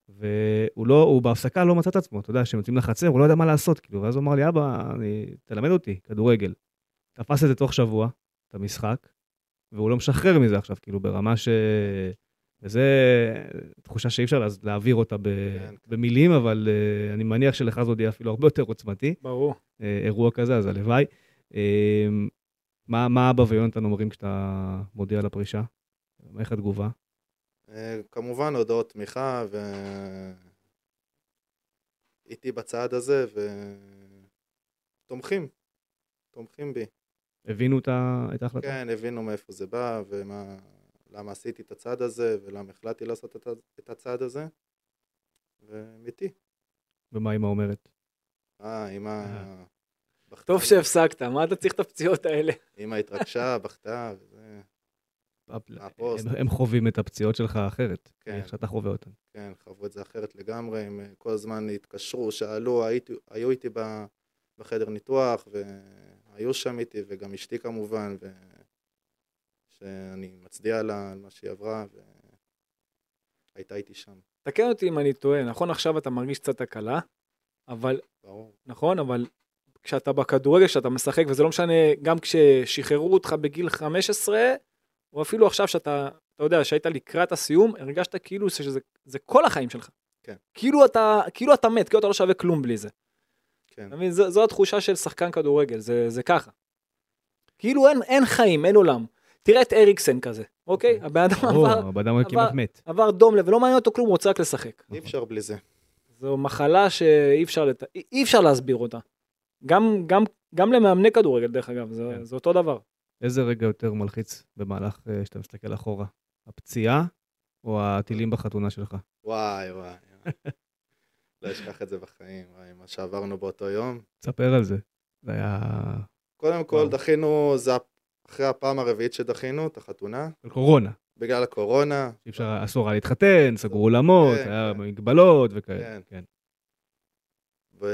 [SPEAKER 2] והוא לא, הוא בהפסקה לא מצא את עצמו, אתה יודע, כשהם יוצאים לחצר, הוא לא יודע מה לעשות, כאילו, ואז הוא אמר לי, אבא, אני, תלמד אותי, כדורגל. תפס את זה תוך שבוע, את המשחק, והוא לא משחרר מזה עכשיו, כאילו, ברמה ש... וזה תחושה שאי אפשר לה- להעביר אותה ב...
[SPEAKER 4] כן.
[SPEAKER 2] במילים, אבל אה, אני מניח שלך זה עוד יהיה אפילו הרבה יותר עוצמתי,
[SPEAKER 3] ברור.
[SPEAKER 2] אה, אירוע כזה, אז הלוואי. אה, מה, מה אבא ויונתן אומרים כשאתה מודיע על הפרישה? איך התגובה?
[SPEAKER 4] אה, כמובן הודעות תמיכה ו... איתי בצעד הזה ותומכים, תומכים בי.
[SPEAKER 2] הבינו את ה- את ההחלטה?
[SPEAKER 4] כן, הבינו מאיפה זה בא ומה... למה עשיתי את הצעד הזה ולמה החלטתי לעשות את ה- את הצעד הזה. והם איתי. כן.
[SPEAKER 2] ומה אימא אומרת?
[SPEAKER 4] אה, אמא...
[SPEAKER 2] אה.
[SPEAKER 4] בכתה.
[SPEAKER 3] טוב שהפסקת, מה אתה צריך את הפציעות האלה?
[SPEAKER 4] אמא התרגשה, בכתה, וזה... הפוסט.
[SPEAKER 2] לא, הם, הם חווים את הפציעות שלך אחרת,
[SPEAKER 4] כן.
[SPEAKER 2] איך שאתה חווה אותן.
[SPEAKER 4] כן, חוו את זה אחרת לגמרי, הם אה, כל הזמן התקשרו, שאלו, הייתי, היו איתי ב- בחדר ניתוח, והיו שם איתי, וגם אשתי כמובן, ו... שאני מצדיע לה על מה שהיא עברה, והייתה איתי שם,
[SPEAKER 3] תקן אותי אם אני טועה, נכון עכשיו אתה מרגיש קצת הקלה, אבל,
[SPEAKER 4] ברור.
[SPEAKER 3] נכון, אבל כשאתה בכדורגל, כשאתה משחק, וזה לא משנה, גם כששחררו אותך בגיל 15, או אפילו עכשיו שאתה, אתה יודע, שהיית לקראת הסיום, הרגשת כאילו שזה זה כל החיים שלך.
[SPEAKER 4] כן.
[SPEAKER 3] כאילו אתה, כאילו אתה מת, כאילו אתה לא שווה כלום בלי זה.
[SPEAKER 4] כן,
[SPEAKER 3] אתה
[SPEAKER 2] נכון.
[SPEAKER 3] מבין? זו, זו התחושה של שחקן כדורגל, זה, זה ככה. כאילו אין, אין חיים, אין עולם. תראה את אריקסן כזה. אוקיי? הבן אדם
[SPEAKER 2] ברור,
[SPEAKER 3] עבר,
[SPEAKER 2] הבן אדם כמעט מת.
[SPEAKER 3] עבר דום לב, ולא מעניין אותו כלום, הוא רוצה רק לשחק.
[SPEAKER 4] אי אפשר בלי זה.
[SPEAKER 3] זו מחלה שאי אפשר, לת... אי- אי אפשר להסביר אותה. גם, גם, גם למאמני כדורגל, דרך אגב, זה,
[SPEAKER 2] כן.
[SPEAKER 3] זה אותו דבר.
[SPEAKER 2] איזה רגע יותר מלחיץ במהלך אה, שאתה מסתכל אחורה? הפציעה או הטילים בחתונה שלך?
[SPEAKER 4] וואי, וואי. וואי. לא אשכח את זה בחיים, וואי, מה שעברנו באותו יום.
[SPEAKER 2] תספר על זה. זה היה...
[SPEAKER 4] קודם כל,
[SPEAKER 2] וואו.
[SPEAKER 4] דחינו, זה אחרי הפעם הרביעית שדחינו, את החתונה,
[SPEAKER 2] של קורונה.
[SPEAKER 4] בגלל הקורונה.
[SPEAKER 2] אי אפשר, אסור היה להתחתן, סגרו אולמות,
[SPEAKER 4] כן,
[SPEAKER 2] היה
[SPEAKER 4] כן.
[SPEAKER 2] מגבלות וכאלה.
[SPEAKER 4] כן.
[SPEAKER 2] כן.
[SPEAKER 4] ו...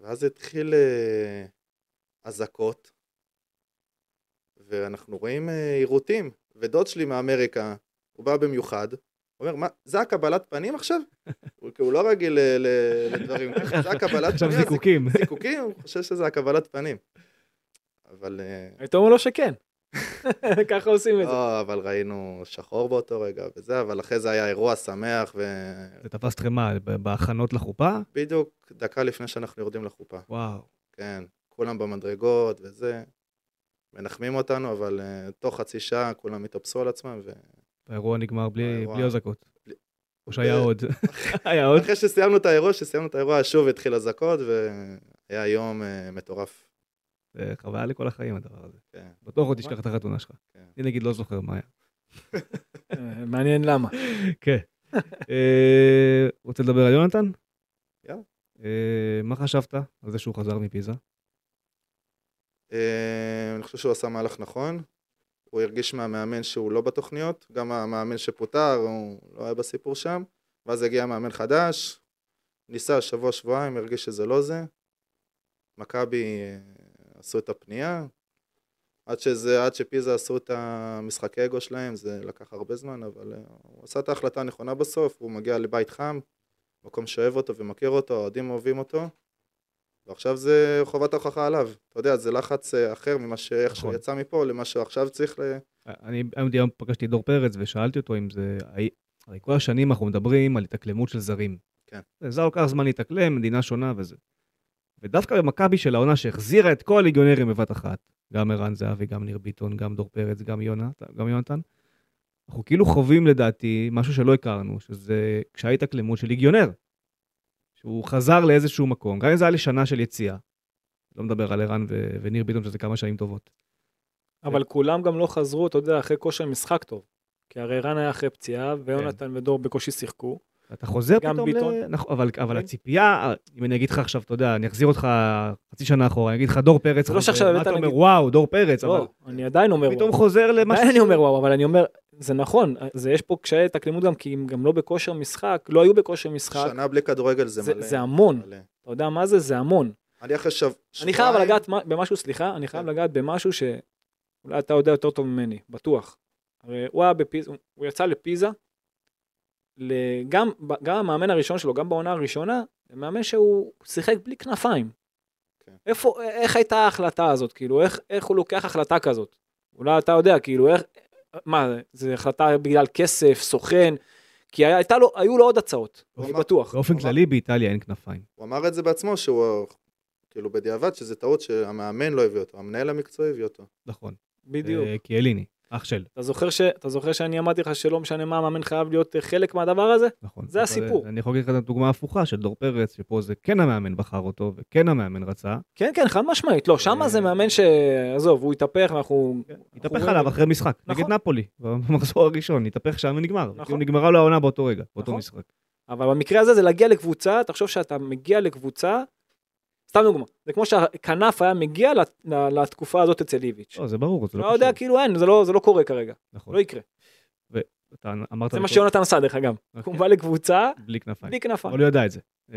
[SPEAKER 4] ואז התחיל אה, אזעקות, ואנחנו רואים אה, עירותים, ודוד שלי מאמריקה, הוא בא במיוחד, הוא אומר, מה, זה הקבלת פנים עכשיו? הוא, כי הוא לא רגיל ל- ל- לדברים ככה, זה הקבלת
[SPEAKER 2] עכשיו
[SPEAKER 4] פנים, אז
[SPEAKER 2] זיקוקים.
[SPEAKER 4] זיקוקים, הוא חושב שזה הקבלת פנים. אבל... אה,
[SPEAKER 3] היית אומר לו שכן. ככה עושים את זה.
[SPEAKER 4] לא, אבל ראינו שחור באותו רגע וזה, אבל אחרי זה היה אירוע שמח,
[SPEAKER 2] זה תפס אתכם מה, ב- בהכנות לחופה?
[SPEAKER 4] ובדיוק דקה לפני שאנחנו יורדים לחופה.
[SPEAKER 2] וואו.
[SPEAKER 4] כן, כולם במדרגות וזה. מנחמים אותנו, אבל uh, תוך חצי שעה כולם התאפסו על עצמם,
[SPEAKER 2] האירוע נגמר בלי
[SPEAKER 4] האירוע-
[SPEAKER 2] בלי אזעקות.
[SPEAKER 4] בלי-
[SPEAKER 2] או שהיה
[SPEAKER 4] אה,
[SPEAKER 2] עוד. היה עוד.
[SPEAKER 4] ואחרי שסיימנו את האירוע, שסיימנו את האירוע, שוב התחיל אזעקות, והיה יום uh, מטורף.
[SPEAKER 2] זה חוויה לכל החיים הדבר הזה.
[SPEAKER 4] כן.
[SPEAKER 2] בטוח עוד תשכח את החתונה שלך.
[SPEAKER 4] כן.
[SPEAKER 2] אני נגיד לא זוכר מה היה.
[SPEAKER 3] אה, מעניין למה.
[SPEAKER 2] כן. אה, רוצה לדבר על יונתן?
[SPEAKER 4] יאללה.
[SPEAKER 2] אה, מה חשבת על זה שהוא חזר מפיזה?
[SPEAKER 4] אה, אני חושב שהוא עשה מהלך נכון. הוא הרגיש מהמאמן שהוא לא בתוכניות, גם המאמן שפוטר, הוא לא היה בסיפור שם. ואז הגיע מאמן חדש, ניסה שבוע שבועיים, הרגיש שזה לא זה. מכבי אה, עשו את הפנייה. עד שזה, עד שפיזה עשו את המשחקי אגו שלהם, זה לקח הרבה זמן, אבל אה, הוא עשה את ההחלטה הנכונה בסוף, הוא מגיע לבית חם, מקום שאוהב אותו ומכיר אותו, האוהדים אוהבים אותו. ועכשיו זה חובת ההוכחה עליו. אתה יודע, זה לחץ אה, אחר ממה שאיך שהוא
[SPEAKER 2] נכון.
[SPEAKER 4] יצא מפה, למה שהוא עכשיו צריך ל...
[SPEAKER 2] אני היום דיון פגשתי את דור פרץ ושאלתי אותו אם זה... האי- הרי כל השנים אנחנו מדברים על התאקלמות של זרים.
[SPEAKER 4] כן.
[SPEAKER 2] זה לוקח זמן להתאקלם, מדינה שונה וזה. ודווקא במכבי של העונה שהחזירה את כל הליגיונרים בבת אחת, גם ערן זהבי, גם ניר ביטון, גם דור פרץ, גם יונת- גם יונתן, אנחנו כאילו חווים לדעתי משהו שלא הכרנו, שזה כשההתאקלמות של ליגיונר. שהוא חזר לאיזשהו מקום, גם אם זה היה לשנה של יציאה. לא מדבר על ערן ו- וניר ביטון, שזה כמה שנים טובות.
[SPEAKER 3] אבל כולם גם לא חזרו, אתה יודע, אחרי כושר משחק טוב. כי הרי רן היה אחרי פציעה, ויונתן ודור בקושי שיחקו.
[SPEAKER 2] אתה חוזר
[SPEAKER 3] גם
[SPEAKER 2] פתאום
[SPEAKER 3] ביטון.
[SPEAKER 2] ל... נכון, אבל, אבל
[SPEAKER 3] כן.
[SPEAKER 2] הציפייה, אם אני אגיד לך עכשיו, אתה יודע, אני אחזיר אותך חצי שנה אחורה, אני אגיד לך דור פרץ,
[SPEAKER 3] זה לא
[SPEAKER 2] חוזר,
[SPEAKER 3] שעכשיו
[SPEAKER 2] מה
[SPEAKER 3] הבאת,
[SPEAKER 2] אתה אומר,
[SPEAKER 3] נגיד-
[SPEAKER 2] וואו, דור פרץ, כן, אבל
[SPEAKER 3] לא, אני עדיין אומר
[SPEAKER 2] פתאום
[SPEAKER 3] וואו.
[SPEAKER 2] חוזר למה
[SPEAKER 3] עדיין אני אומר וואו, אבל אני אומר, זה נכון, זה יש פה קשיי התאקלימות גם, כי הם גם לא בכושר משחק, לא היו בכושר משחק.
[SPEAKER 4] שנה בלי כדורגל זה,
[SPEAKER 3] זה-
[SPEAKER 4] מלא.
[SPEAKER 3] זה המון.
[SPEAKER 4] מלא.
[SPEAKER 3] אתה יודע מה זה? זה המון.
[SPEAKER 4] אני אחרי שב...
[SPEAKER 3] אני
[SPEAKER 4] שבועיים-
[SPEAKER 3] חייב אבל לגעת מה- במשהו, סליחה, אני חייב
[SPEAKER 4] כן.
[SPEAKER 3] לגעת במשהו שאולי אתה יודע יותר טוב ממני, בטוח. הרי הוא היה בפיזה, הוא- הוא יצא לפיזה, ל- גם ב- גם המאמן הראשון שלו, גם בעונה הראשונה, זה מאמן שהוא שיחק בלי כנפיים.
[SPEAKER 4] כן.
[SPEAKER 3] איפה, א- איך הייתה ההחלטה הזאת? כאילו, איך- איך הוא לוקח החלטה כזאת? אולי אתה יודע, כאילו, איך, מה, זו החלטה בגלל כסף, סוכן, כי היה- הייתה לו, היו לו עוד הצעות,
[SPEAKER 4] הוא
[SPEAKER 3] אני
[SPEAKER 4] אמר-
[SPEAKER 3] בטוח.
[SPEAKER 2] באופן
[SPEAKER 4] אבל-
[SPEAKER 2] כללי באיטליה אין כנפיים.
[SPEAKER 4] הוא אמר את זה בעצמו, שהוא כאילו בדיעבד, שזה טעות שהמאמן לא הביא אותו, המנהל המקצועי הביא אותו.
[SPEAKER 2] נכון.
[SPEAKER 3] בדיוק.
[SPEAKER 2] אה, קיאליני, אח של,
[SPEAKER 3] אתה זוכר, ש... אתה זוכר שאני אמרתי לך שלא משנה מה, המאמן חייב להיות אה, חלק מהדבר הזה?
[SPEAKER 2] נכון.
[SPEAKER 3] זה
[SPEAKER 2] אבל,
[SPEAKER 3] הסיפור.
[SPEAKER 2] אה, אני יכול להגיד לך את הדוגמה ההפוכה של דור פרץ, שפה זה כן המאמן בחר אותו, וכן המאמן רצה.
[SPEAKER 3] כן, כן, חד משמעית. לא, שמה זה מאמן ש... עזוב, הוא התהפך, אנחנו...
[SPEAKER 2] התהפך
[SPEAKER 3] רואים-
[SPEAKER 2] עליו אחרי משחק,
[SPEAKER 3] נכון.
[SPEAKER 2] נגד נפולי, במחזור הראשון, התהפך שם ונגמר.
[SPEAKER 3] נכון.
[SPEAKER 2] כאילו נגמרה לו העונה באותו רגע, באותו
[SPEAKER 3] נכון.
[SPEAKER 2] משחק.
[SPEAKER 3] אבל במקרה הזה זה להגיע לקבוצה, תחשוב שאתה מגיע לקבוצה, סתם דוגמה, זה כמו שהכנף היה מגיע לת- ל- לתקופה הזאת אצל איביץ'.
[SPEAKER 2] לא, זה ברור, זה לא
[SPEAKER 3] לא יודע,
[SPEAKER 2] קשור.
[SPEAKER 3] כאילו אין, זה לא- זה לא קורה כרגע,
[SPEAKER 2] נכון.
[SPEAKER 3] לא יקרה.
[SPEAKER 2] אתה אמרת...
[SPEAKER 3] זה מה
[SPEAKER 2] מקודם-
[SPEAKER 3] שיונתן עשה, דרך אגב.
[SPEAKER 2] אוקיי.
[SPEAKER 3] הוא בא לקבוצה
[SPEAKER 2] בלי כנפיים.
[SPEAKER 3] בלי כנפה.
[SPEAKER 2] אבל הוא ידע את זה. אמ,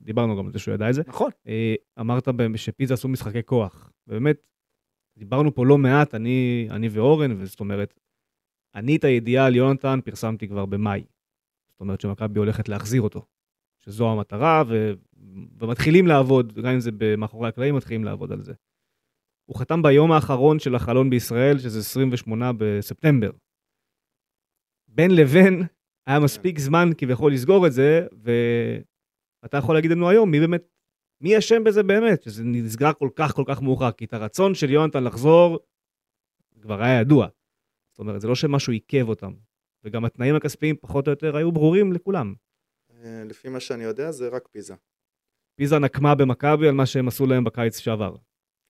[SPEAKER 2] דיברנו גם על זה שהוא ידע את זה.
[SPEAKER 3] נכון.
[SPEAKER 2] אה, אמרת ב- שפיזה עשו משחקי כוח. באמת, דיברנו פה לא מעט, אני, אני ואורן, וזאת אומרת, אני את הידיעה על יונתן פרסמתי כבר במאי. זאת אומרת שמכבי הולכת להחזיר אותו, שזו המטרה, ו, ומתחילים לעבוד, גם אם זה מאחורי הקלעים, מתחילים לעבוד על זה. הוא חתם ביום האחרון של החלון בישראל, שזה 28 בספטמבר. בין לבין היה מספיק זמן כביכול לסגור את זה, ואתה יכול להגיד לנו היום מי באמת מי אשם בזה באמת, שזה נסגר כל כך כל כך מאוחר? כי את הרצון של יונתן לחזור כבר היה ידוע. זאת אומרת, זה לא שמשהו עיכב אותם. וגם התנאים הכספיים פחות או יותר היו ברורים לכולם.
[SPEAKER 4] אה, לפי מה שאני יודע זה רק פיזה.
[SPEAKER 2] פיזה נקמה במכבי על מה שהם עשו להם בקיץ שעבר.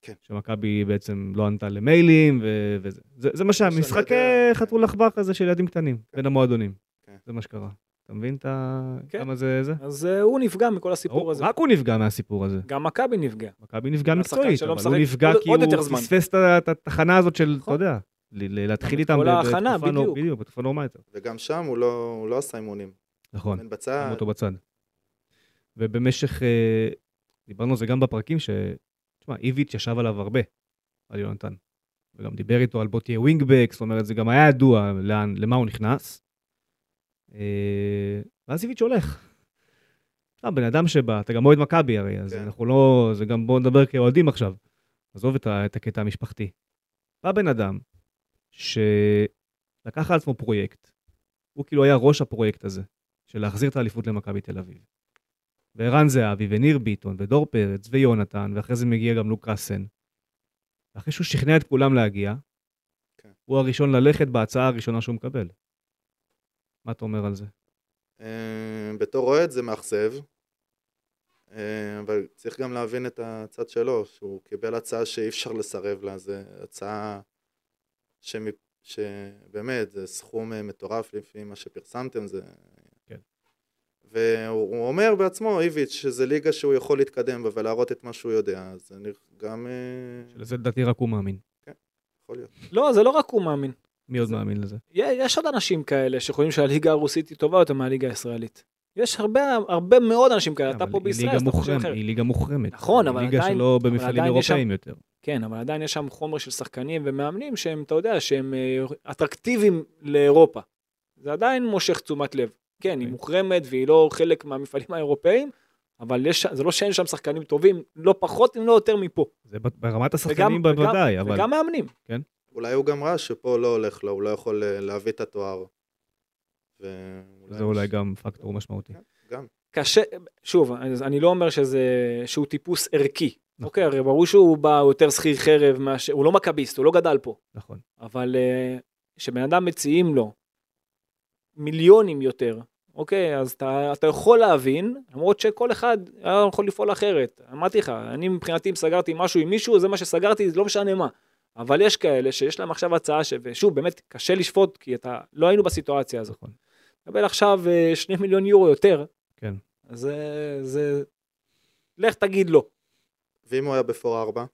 [SPEAKER 4] כן.
[SPEAKER 2] שמכבי בעצם לא ענתה למיילים ו- וזה. זה, זה מה שהיה,
[SPEAKER 4] שאני
[SPEAKER 2] משחק
[SPEAKER 4] יודע.
[SPEAKER 2] חתול עכבר כזה של ילדים קטנים, בין המועדונים.
[SPEAKER 4] כן.
[SPEAKER 2] זה מה שקרה. אתה מבין את ה...
[SPEAKER 3] כן.
[SPEAKER 2] כמה זה זה?
[SPEAKER 3] אז אה, הוא נפגע מכל הסיפור
[SPEAKER 2] ברור,
[SPEAKER 3] הזה.
[SPEAKER 2] רק הוא נפגע מהסיפור הזה.
[SPEAKER 3] גם מכבי נפגע.
[SPEAKER 2] מכבי נפגע
[SPEAKER 3] השחקן
[SPEAKER 2] מקצועית,
[SPEAKER 3] שלא
[SPEAKER 2] אבל הוא
[SPEAKER 3] משחק
[SPEAKER 2] נפגע
[SPEAKER 3] עוד-
[SPEAKER 2] כי
[SPEAKER 3] עוד
[SPEAKER 2] הוא
[SPEAKER 3] יותר זמן.
[SPEAKER 2] פספס את ה- את התחנה הזאת של, אתה
[SPEAKER 3] נכון.
[SPEAKER 2] יודע, ל- ל- להתחיל
[SPEAKER 3] גם את
[SPEAKER 2] איתם
[SPEAKER 3] כל
[SPEAKER 2] ב-
[SPEAKER 3] ההכנה,
[SPEAKER 2] בתקופה נור-
[SPEAKER 3] בדיוק.
[SPEAKER 2] בדיוק, בתקופה נורמלית.
[SPEAKER 4] וגם שם הוא לא, הוא לא עשה אימונים.
[SPEAKER 2] נכון.
[SPEAKER 4] בין
[SPEAKER 2] שם
[SPEAKER 4] בצד,
[SPEAKER 2] אותו בצד. ובמשך, אה, דיברנו על זה גם בפרקים, ש... תשמע, איביץ' ישב עליו הרבה, על יונתן. וגם דיבר איתו על בוא תהיה ווינגבק, זאת אומרת, זה גם היה ידוע לאן, למה הוא נכנס. אה, ואז איביץ' הולך. אתה בן אדם שבא, אתה גם אוהד מכבי הרי, אז
[SPEAKER 4] כן.
[SPEAKER 2] אנחנו לא, זה גם בואו נדבר כאוהדים עכשיו. עזוב את, ה- את הקטע המשפחתי. בא בן אדם שלקח על עצמו פרויקט, הוא כאילו היה ראש הפרויקט הזה. של להחזיר את האליפות למכבי תל אביב. וערן זהבי, וניר ביטון, ודור פרץ, ויונתן, ואחרי זה מגיע גם לוקאסן. אחרי שהוא שכנע את כולם להגיע,
[SPEAKER 4] כן.
[SPEAKER 2] הוא הראשון ללכת בהצעה הראשונה שהוא מקבל. מה אתה אומר על זה?
[SPEAKER 4] אה, בתור אוהד זה מאכזב, אה, אבל צריך גם להבין את הצד שלו, שהוא קיבל הצעה שאי אפשר לסרב לה, זו הצעה שמ... שבאמת, זה סכום אה, מטורף לפי מה שפרסמתם, זה...
[SPEAKER 2] כן.
[SPEAKER 4] והוא הוא אומר בעצמו, איביץ', שזה ליגה שהוא יכול להתקדם בה ולהראות את מה שהוא יודע, אז אני גם... אה,
[SPEAKER 2] לזה לדעתי רק הוא מאמין.
[SPEAKER 4] יכול להיות.
[SPEAKER 3] לא, זה לא רק הוא מאמין.
[SPEAKER 2] מי עוד מאמין לזה?
[SPEAKER 3] יה- יש עוד אנשים כאלה שחושבים שהליגה הרוסית היא טובה יותר מהליגה הישראלית. יש הרבה, הרבה מאוד אנשים כאלה, אתה
[SPEAKER 2] אבל
[SPEAKER 3] פה
[SPEAKER 2] היא ליגה
[SPEAKER 3] בישראל, אז אתה חושב
[SPEAKER 2] מוחרמת,
[SPEAKER 3] אחרת.
[SPEAKER 2] היא ליגה מוחרמת.
[SPEAKER 3] נכון, אבל
[SPEAKER 2] היא ליגה
[SPEAKER 3] עדיין-
[SPEAKER 2] שלא
[SPEAKER 3] אבל
[SPEAKER 2] במפעלים
[SPEAKER 3] עדיין יש שם-
[SPEAKER 2] אירופאיים יותר.
[SPEAKER 3] כן, אבל עדיין יש שם חומר של שחקנים ומאמנים שהם, אתה יודע, שהם אה, אטרקטיביים לאירופה. זה עדיין מושך תשומת לב. כן, היא
[SPEAKER 2] אוקיי.
[SPEAKER 3] מוחרמת והיא לא חלק מהמפעלים האירופאים, אבל יש, זה לא שאין שם שחקנים טובים, לא פחות אם לא יותר מפה.
[SPEAKER 2] זה ב- ברמת
[SPEAKER 3] וגם-
[SPEAKER 2] השחקנים בוודאי, אבל...
[SPEAKER 3] וגם מאמנים.
[SPEAKER 4] אולי הוא גם ראה שפה לא הולך לו, הוא לא יכול אה, להביא את התואר. ואולי-
[SPEAKER 2] זה אולי גם פקטור משמעותי.
[SPEAKER 4] כן, גם.
[SPEAKER 3] קשה, שוב, אז אני לא אומר שזה, שהוא טיפוס ערכי.
[SPEAKER 2] נכון.
[SPEAKER 3] אוקיי, הרי ברור שהוא בא הוא יותר שכיר חרב, מאשר, הוא לא מכביסט, הוא לא גדל פה.
[SPEAKER 2] נכון.
[SPEAKER 3] אבל אה, כשבן אדם מציעים לו מיליונים יותר, אוקיי, אז אתה, אתה יכול להבין, למרות שכל אחד היה יכול לפעול אחרת. אמרתי לך, אני מבחינתי אם סגרתי משהו עם מישהו, זה מה שסגרתי, זה לא משנה מה. אבל יש כאלה שיש להם עכשיו הצעה, ש... ושוב, באמת קשה לשפוט, כי אתה, לא היינו בסיטואציה הזאת.
[SPEAKER 2] נכון.
[SPEAKER 3] תקבל עכשיו אה, שני מיליון יורו יותר.
[SPEAKER 2] כן.
[SPEAKER 3] זה, זה, לך תגיד לא.
[SPEAKER 4] ואם הוא היה בפור ארבע?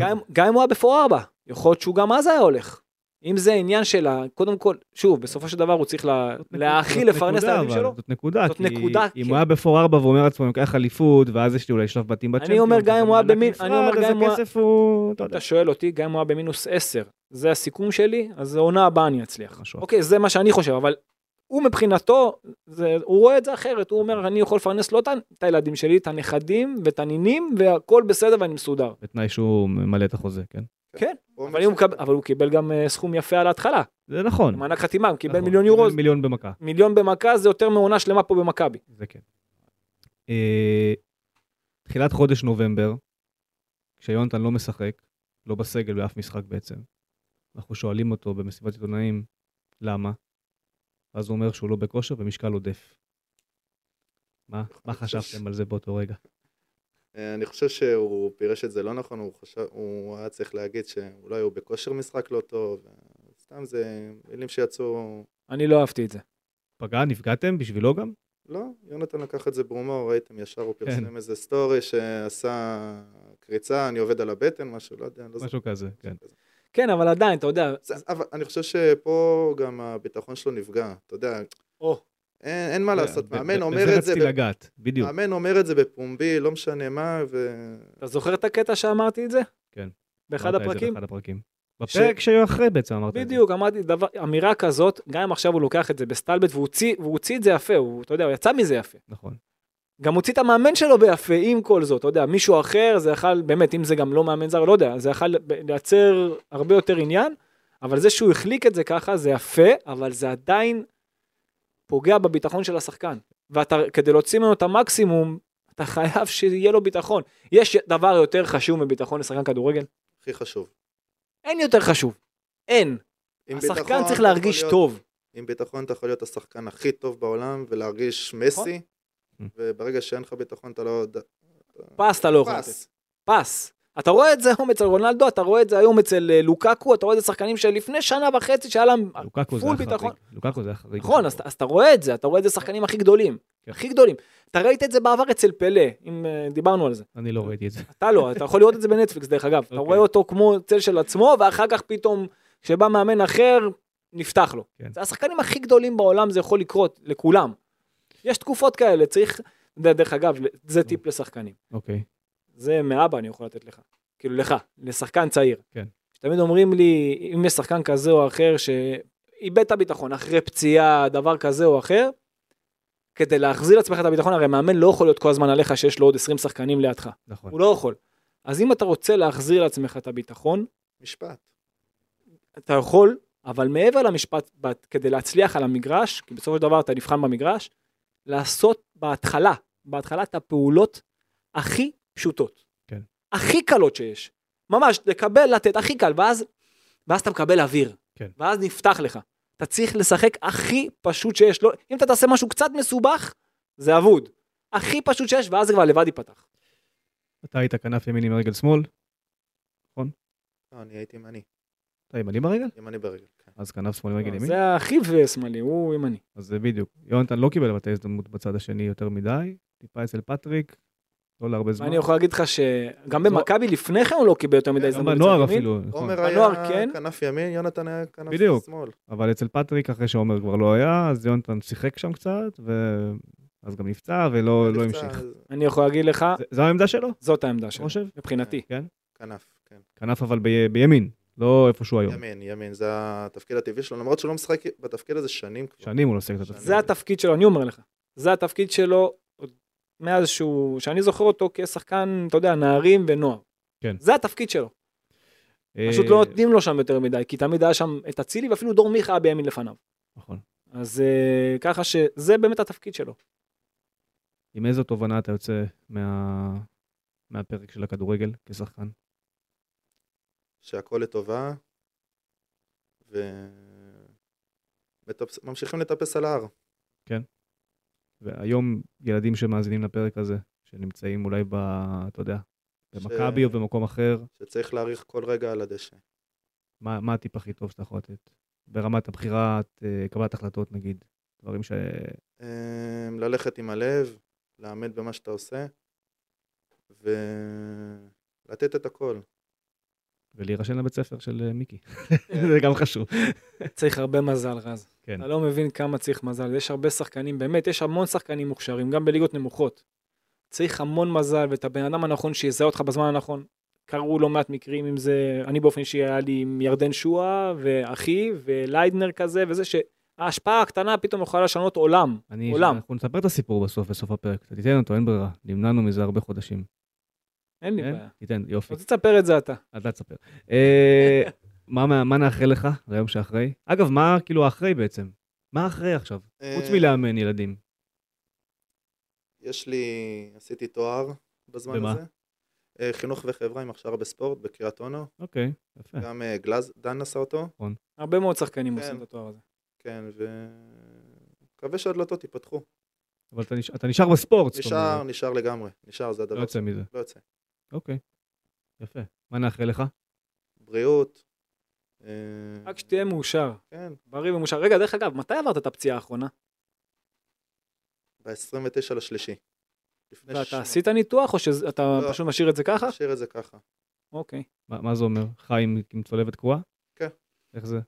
[SPEAKER 3] גם, גם אם הוא היה בפור ארבע, יכול להיות שהוא גם אז היה הולך. אם זה עניין של ה... קודם כל, שוב, בסופו של דבר הוא צריך לה,
[SPEAKER 2] זאת נקודה-
[SPEAKER 3] להאכיל,
[SPEAKER 2] זאת
[SPEAKER 3] לפרנס את
[SPEAKER 2] נקודה,
[SPEAKER 3] הילדים
[SPEAKER 2] אבל
[SPEAKER 3] שלו.
[SPEAKER 2] זאת נקודה,
[SPEAKER 3] זאת
[SPEAKER 2] כי
[SPEAKER 3] נקודה,
[SPEAKER 2] אם
[SPEAKER 3] כן.
[SPEAKER 2] הוא היה בפור ארבע ואומר לעצמו, אני לוקח אליפות, ואז יש לי אולי שלב בתים בצ'מפיון.
[SPEAKER 3] אומר, גם אם הוא היה במין- אני אומר, גם אם הוא היה-
[SPEAKER 2] הכסף הוא... אתה יודע.
[SPEAKER 3] אתה שואל אותי, גם אם הוא היה במינוס עשר, זה הסיכום שלי, אז העונה הבאה אני אצליח.
[SPEAKER 2] משהו אחר.
[SPEAKER 3] אוקיי, זה מה שאני חושב, אבל הוא מבחינתו, זה, הוא רואה את זה אחרת, הוא אומר, אני יכול לפרנס לא את ה- את הילדים שלי, את הנכדים ואת הנינים, והכל בסדר ואני מסודר.
[SPEAKER 2] בתנאי שהוא ממלא את החוזה, כן.
[SPEAKER 3] אבל, אם הוא, קב... אבל הוא קיבל גם אה, סכום יפה על ההתחלה,
[SPEAKER 2] זה נכון.
[SPEAKER 3] מענק חתימה, הוא קיבל
[SPEAKER 2] נכון,
[SPEAKER 3] מיליון יורו,
[SPEAKER 2] קיבל מיליון במכה,
[SPEAKER 3] מיליון במכה זה יותר מעונה שלמה פה במכבי.
[SPEAKER 2] זה כן. אה, תחילת חודש נובמבר, כשיונתן לא משחק, לא בסגל באף משחק בעצם, אנחנו שואלים אותו במסיבת עיתונאים, למה? ואז הוא אומר שהוא לא בכושר ומשקל עודף. מה, מה חשבתם על זה באותו רגע?
[SPEAKER 4] אה, אני חושב שהוא פירש את זה לא נכון, הוא, חשב, הוא היה צריך להגיד שאולי הוא בכושר משחק לא טוב, אה, סתם זה מילים שיצאו...
[SPEAKER 3] אני לא אהבתי את זה.
[SPEAKER 2] פגע, נפגעתם בשבילו גם?
[SPEAKER 4] לא, יונתן לקח את זה בהומור, ראיתם ישר, הוא פרסם
[SPEAKER 2] כן.
[SPEAKER 4] איזה סטורי שעשה קריצה, אני עובד על הבטן, משהו, לא יודע, לא זוכר.
[SPEAKER 2] משהו כזה, כן.
[SPEAKER 3] כן, אבל עדיין, אתה יודע,
[SPEAKER 4] זה- אבל אני חושב שפה גם הביטחון שלו נפגע, אתה יודע,
[SPEAKER 3] או,
[SPEAKER 4] אין, אין מה לעשות,
[SPEAKER 2] ב- ב-
[SPEAKER 4] מאמן
[SPEAKER 2] בזה
[SPEAKER 4] אומר את זה,
[SPEAKER 2] רציתי לגעת, בדיוק.
[SPEAKER 4] מאמן אומר את זה בפומבי, לא משנה מה, ו...
[SPEAKER 3] אתה זוכר את הקטע שאמרתי את זה?
[SPEAKER 2] כן.
[SPEAKER 3] באחד
[SPEAKER 2] אמרת את זה
[SPEAKER 3] הפרקים?
[SPEAKER 2] באחד הפרקים. בפרק שהיו אחרי בעצם אמרת את זה.
[SPEAKER 3] בדיוק, אמרתי דבר, אמירה כזאת, גם אם עכשיו הוא לוקח את זה בסטלבט, והוא הוציא- והוא הוציא את זה יפה, הוא, אתה יודע, הוא יצא מזה יפה.
[SPEAKER 2] נכון.
[SPEAKER 3] גם הוציא את המאמן שלו ביפה, עם כל זאת, אתה יודע, מישהו אחר, זה יכל, באמת, אם זה גם לא מאמן זר, לא יודע, זה יכל ב- לייצר הרבה יותר עניין, אבל זה שהוא החליק את זה ככה, זה יפה, אבל זה עדיין פוגע בביטחון של השחקן. ואתה, כדי להוציא ממנו את המקסימום, אתה חייב שיהיה לו ביטחון. יש דבר יותר חשוב מביטחון לשחקן כדורגל?
[SPEAKER 4] הכי חשוב.
[SPEAKER 3] אין יותר חשוב. אין.
[SPEAKER 4] עם ביטחון
[SPEAKER 3] השחקן
[SPEAKER 4] אתה
[SPEAKER 3] צריך
[SPEAKER 4] יכול
[SPEAKER 3] להרגיש
[SPEAKER 4] להיות-
[SPEAKER 3] טוב.
[SPEAKER 4] עם ביטחון אתה יכול להיות השחקן הכי טוב בעולם ולהרגיש מסי,
[SPEAKER 2] נכון.
[SPEAKER 4] וברגע שאין לך ביטחון אתה לא... יודע-
[SPEAKER 3] פס אתה לא יכול לתת.
[SPEAKER 4] פס.
[SPEAKER 3] פס. אתה רואה את זה היום אצל רונלדו, אתה רואה את זה היום אצל אה, לוקקו, אתה רואה את זה שחקנים שלפני שנה וחצי שהיה להם
[SPEAKER 2] לוקקו זה היה
[SPEAKER 3] פול אה, ביטחון.
[SPEAKER 2] חריג. לוקקו זה היה חריג.
[SPEAKER 3] נכון, אז, אז אתה רואה את זה, אתה רואה את זה שחקנים הכי גדולים.
[SPEAKER 2] כן.
[SPEAKER 3] הכי גדולים. אתה ראית את זה בעבר אצל פלא, אם אה, דיברנו על זה.
[SPEAKER 2] אני לא ראיתי את זה.
[SPEAKER 3] אתה לא, אתה יכול לראות את זה בנטפליקס דרך אגב. אתה
[SPEAKER 2] אוקיי.
[SPEAKER 3] רואה אותו כמו צל של עצמו, ואחר כך פתאום, כשבא מאמן אחר, נפתח לו.
[SPEAKER 2] כן.
[SPEAKER 3] זה השחקנים הכי גדולים בעולם, זה יכול לקרות לכולם. יש תקופות כאלה, צריך, אתה יודע, דרך אגב, זה טיפ לשחקנים.
[SPEAKER 2] אוקיי.
[SPEAKER 3] זה מאבא אני יכול לתת לך. כאילו לך, לשחקן צעיר.
[SPEAKER 2] כן.
[SPEAKER 3] תמיד אומרים לי, אם יש שחקן כזה או אחר שאיבד את הביטחון אחרי פציעה, דבר כזה או אחר, כדי להחזיר לעצמך את הביטחון, הרי מאמן לא יכול להיות כל הזמן עליך שיש לו עוד 20 שחקנים לידך.
[SPEAKER 2] נכון.
[SPEAKER 3] הוא לא יכול. אז אם אתה רוצה להחזיר לעצמך את הביטחון,
[SPEAKER 4] משפט.
[SPEAKER 3] אתה יכול, אבל מעבר למשפט, בת- כדי להצליח על המגרש, כי בסופו של דבר אתה נבחן במגרש, לעשות בהתחלה, בהתחלה את הפעולות הכי פשוטות.
[SPEAKER 2] כן.
[SPEAKER 3] הכי קלות שיש. ממש, לקבל, לתת, הכי קל, ואז, ואז אתה מקבל אוויר.
[SPEAKER 2] כן.
[SPEAKER 3] ואז נפתח לך. אתה צריך לשחק הכי פשוט שיש. לא, אם אתה תעשה משהו קצת מסובך, זה אבוד. הכי פשוט שיש, ואז זה כבר לבד ייפתח.
[SPEAKER 2] אתה היית כנף ימין עם רגל שמאל,
[SPEAKER 4] לא, אני הייתי ימני,
[SPEAKER 2] אתה ימני ברגל?
[SPEAKER 4] ימני ברגל. כן.
[SPEAKER 2] אז כנף שמאל עם רגל ימין.
[SPEAKER 3] אה, זה אחיו שמאלי, הוא ימני.
[SPEAKER 2] אז זה בדיוק. יונתן לא קיבל אבל את ההזדמנות בצד השני יותר מדי, טיפה אצל פטריק, לא להרבה זמן.
[SPEAKER 3] אני יכול להגיד לך שגם
[SPEAKER 2] זו-
[SPEAKER 3] במכבי לפני כן הוא לא קיבל יותר מדי
[SPEAKER 2] גם
[SPEAKER 3] הזדמנות.
[SPEAKER 2] בנוער
[SPEAKER 3] בצד ימין.
[SPEAKER 2] אפילו, נכון.
[SPEAKER 4] עומר
[SPEAKER 3] בנוער,
[SPEAKER 4] היה
[SPEAKER 3] כן.
[SPEAKER 4] כנף ימין, יונתן היה כנף
[SPEAKER 2] בדיוק.
[SPEAKER 4] שמאל.
[SPEAKER 2] אבל אצל פטריק, אחרי שעומר כבר לא היה, אז יונתן שיחק שם קצת, ואז גם נפצע ולא לא
[SPEAKER 4] נפצע,
[SPEAKER 2] המשיך.
[SPEAKER 4] אז
[SPEAKER 3] אני יכול להגיד לך,
[SPEAKER 2] זה- זו העמדה שלו,
[SPEAKER 3] זאת העמדה
[SPEAKER 2] אתה
[SPEAKER 3] שלי,
[SPEAKER 2] חושב?
[SPEAKER 3] מבחינתי.
[SPEAKER 2] כן.
[SPEAKER 4] כנף, כן.
[SPEAKER 2] כנף אבל ב- בימין, לא איפה שהוא היום.
[SPEAKER 4] ימין, ימין, זה התפקיד הטבעי שלו, למרות שהוא לא משחק בתפקיד הזה שנים כבר.
[SPEAKER 2] שנים הוא לא עושה את
[SPEAKER 4] שנים.
[SPEAKER 2] התפקיד.
[SPEAKER 3] זה התפקיד שלו, אני אומר לך. זה התפקיד שלו עוד מאז שהוא, שאני זוכר אותו כשחקן, אתה יודע, נערים ונוער.
[SPEAKER 2] כן.
[SPEAKER 3] זה התפקיד שלו.
[SPEAKER 2] אה,
[SPEAKER 3] פשוט לא נותנים לו שם יותר מדי, כי תמיד היה שם את אצילי ואפילו דור מיכה היה בימין לפניו.
[SPEAKER 2] נכון.
[SPEAKER 3] אז אה, ככה שזה באמת התפקיד שלו.
[SPEAKER 2] עם איזו תובנה אתה יוצא מה... מהפרק של הכדורגל כשחקן?
[SPEAKER 4] שהכל לטובה, וממשיכים לטפס על ההר.
[SPEAKER 2] והיום ילדים שמאזינים לפרק הזה, שנמצאים אולי ב... אתה יודע, במכבי
[SPEAKER 4] ש-
[SPEAKER 2] או במקום אחר,
[SPEAKER 4] שצריך להעריך כל רגע על הדשא.
[SPEAKER 2] מה, מה הטיפ הכי טוב שאתה יכול לתת? ברמת הבחירת, אה, קבלת החלטות נגיד, דברים ש...
[SPEAKER 4] אמ, ללכת עם הלב, לעמד במה שאתה עושה, ולתת את הכל.
[SPEAKER 2] ולהירשם לבית ספר של אה, מיקי.
[SPEAKER 3] כן.
[SPEAKER 2] זה גם חשוב.
[SPEAKER 3] צריך הרבה מזל, רז.
[SPEAKER 2] כן.
[SPEAKER 3] אתה לא מבין כמה צריך מזל. יש הרבה שחקנים, באמת, יש המון שחקנים מוכשרים, גם בליגות נמוכות. צריך המון מזל, ואת הבן אדם הנכון שיזהה אותך בזמן הנכון. קרו לא מעט מקרים, אם זה... אני באופן אישי היה לי עם ירדן שואה, ואחי, וליידנר כזה, וזה שההשפעה הקטנה פתאום יכולה לשנות עולם.
[SPEAKER 2] אני,
[SPEAKER 3] עולם.
[SPEAKER 2] אנחנו נספר את הסיפור בסוף, בסוף הפרק. אתה תיתן אותו, אין ברירה. נמנענו מזה הרבה חודשים.
[SPEAKER 3] אין לי
[SPEAKER 2] כן?
[SPEAKER 3] בעיה.
[SPEAKER 2] תיתן, יופי.
[SPEAKER 3] רוצה לספר את זה אתה.
[SPEAKER 2] אתה תספר. אה, מה- מה מה נאחל לך ליום שאחרי? אגב, מה כאילו האחרי בעצם? מה האחרי עכשיו? חוץ
[SPEAKER 4] אה,
[SPEAKER 2] מלאמן ילדים.
[SPEAKER 4] יש לי, עשיתי תואר בזמן
[SPEAKER 2] במה?
[SPEAKER 4] הזה. אה, חינוך וחברה עם הכשרה בספורט בקריית אונו.
[SPEAKER 2] אוקיי, יפה.
[SPEAKER 4] גם אה, גלז, דן עשה אותו.
[SPEAKER 3] הרבה מאוד שחקנים
[SPEAKER 4] כן.
[SPEAKER 3] עושים את התואר הזה.
[SPEAKER 4] כן, ו... מקווה שהדלתות ייפתחו.
[SPEAKER 2] אבל אתה נשאר- אתה נשאר בספורט. זאת
[SPEAKER 4] נשאר,
[SPEAKER 2] אומרת.
[SPEAKER 4] נשאר לגמרי. נשאר, זה
[SPEAKER 2] לא
[SPEAKER 4] הדבר.
[SPEAKER 2] יוצא מזה.
[SPEAKER 4] לא יוצא.
[SPEAKER 2] אוקיי. יפה. מה נאחל לך?
[SPEAKER 4] בריאות. אה,
[SPEAKER 3] רק שתהיה מאושר,
[SPEAKER 4] כן,
[SPEAKER 3] בריא ומאושר. רגע, דרך אגב, מתי עברת את הפציעה האחרונה?
[SPEAKER 4] ב-29 לשלישי. לפני שש
[SPEAKER 3] ואתה
[SPEAKER 4] שנים.
[SPEAKER 3] עשית ניתוח, או שאתה
[SPEAKER 4] לא.
[SPEAKER 3] פשוט משאיר את זה ככה?
[SPEAKER 4] נשאיר את זה ככה.
[SPEAKER 3] אוקיי.
[SPEAKER 2] מה מה זה אומר? חי עם- עם צולבת קרועה?
[SPEAKER 4] כן.
[SPEAKER 2] איך זה?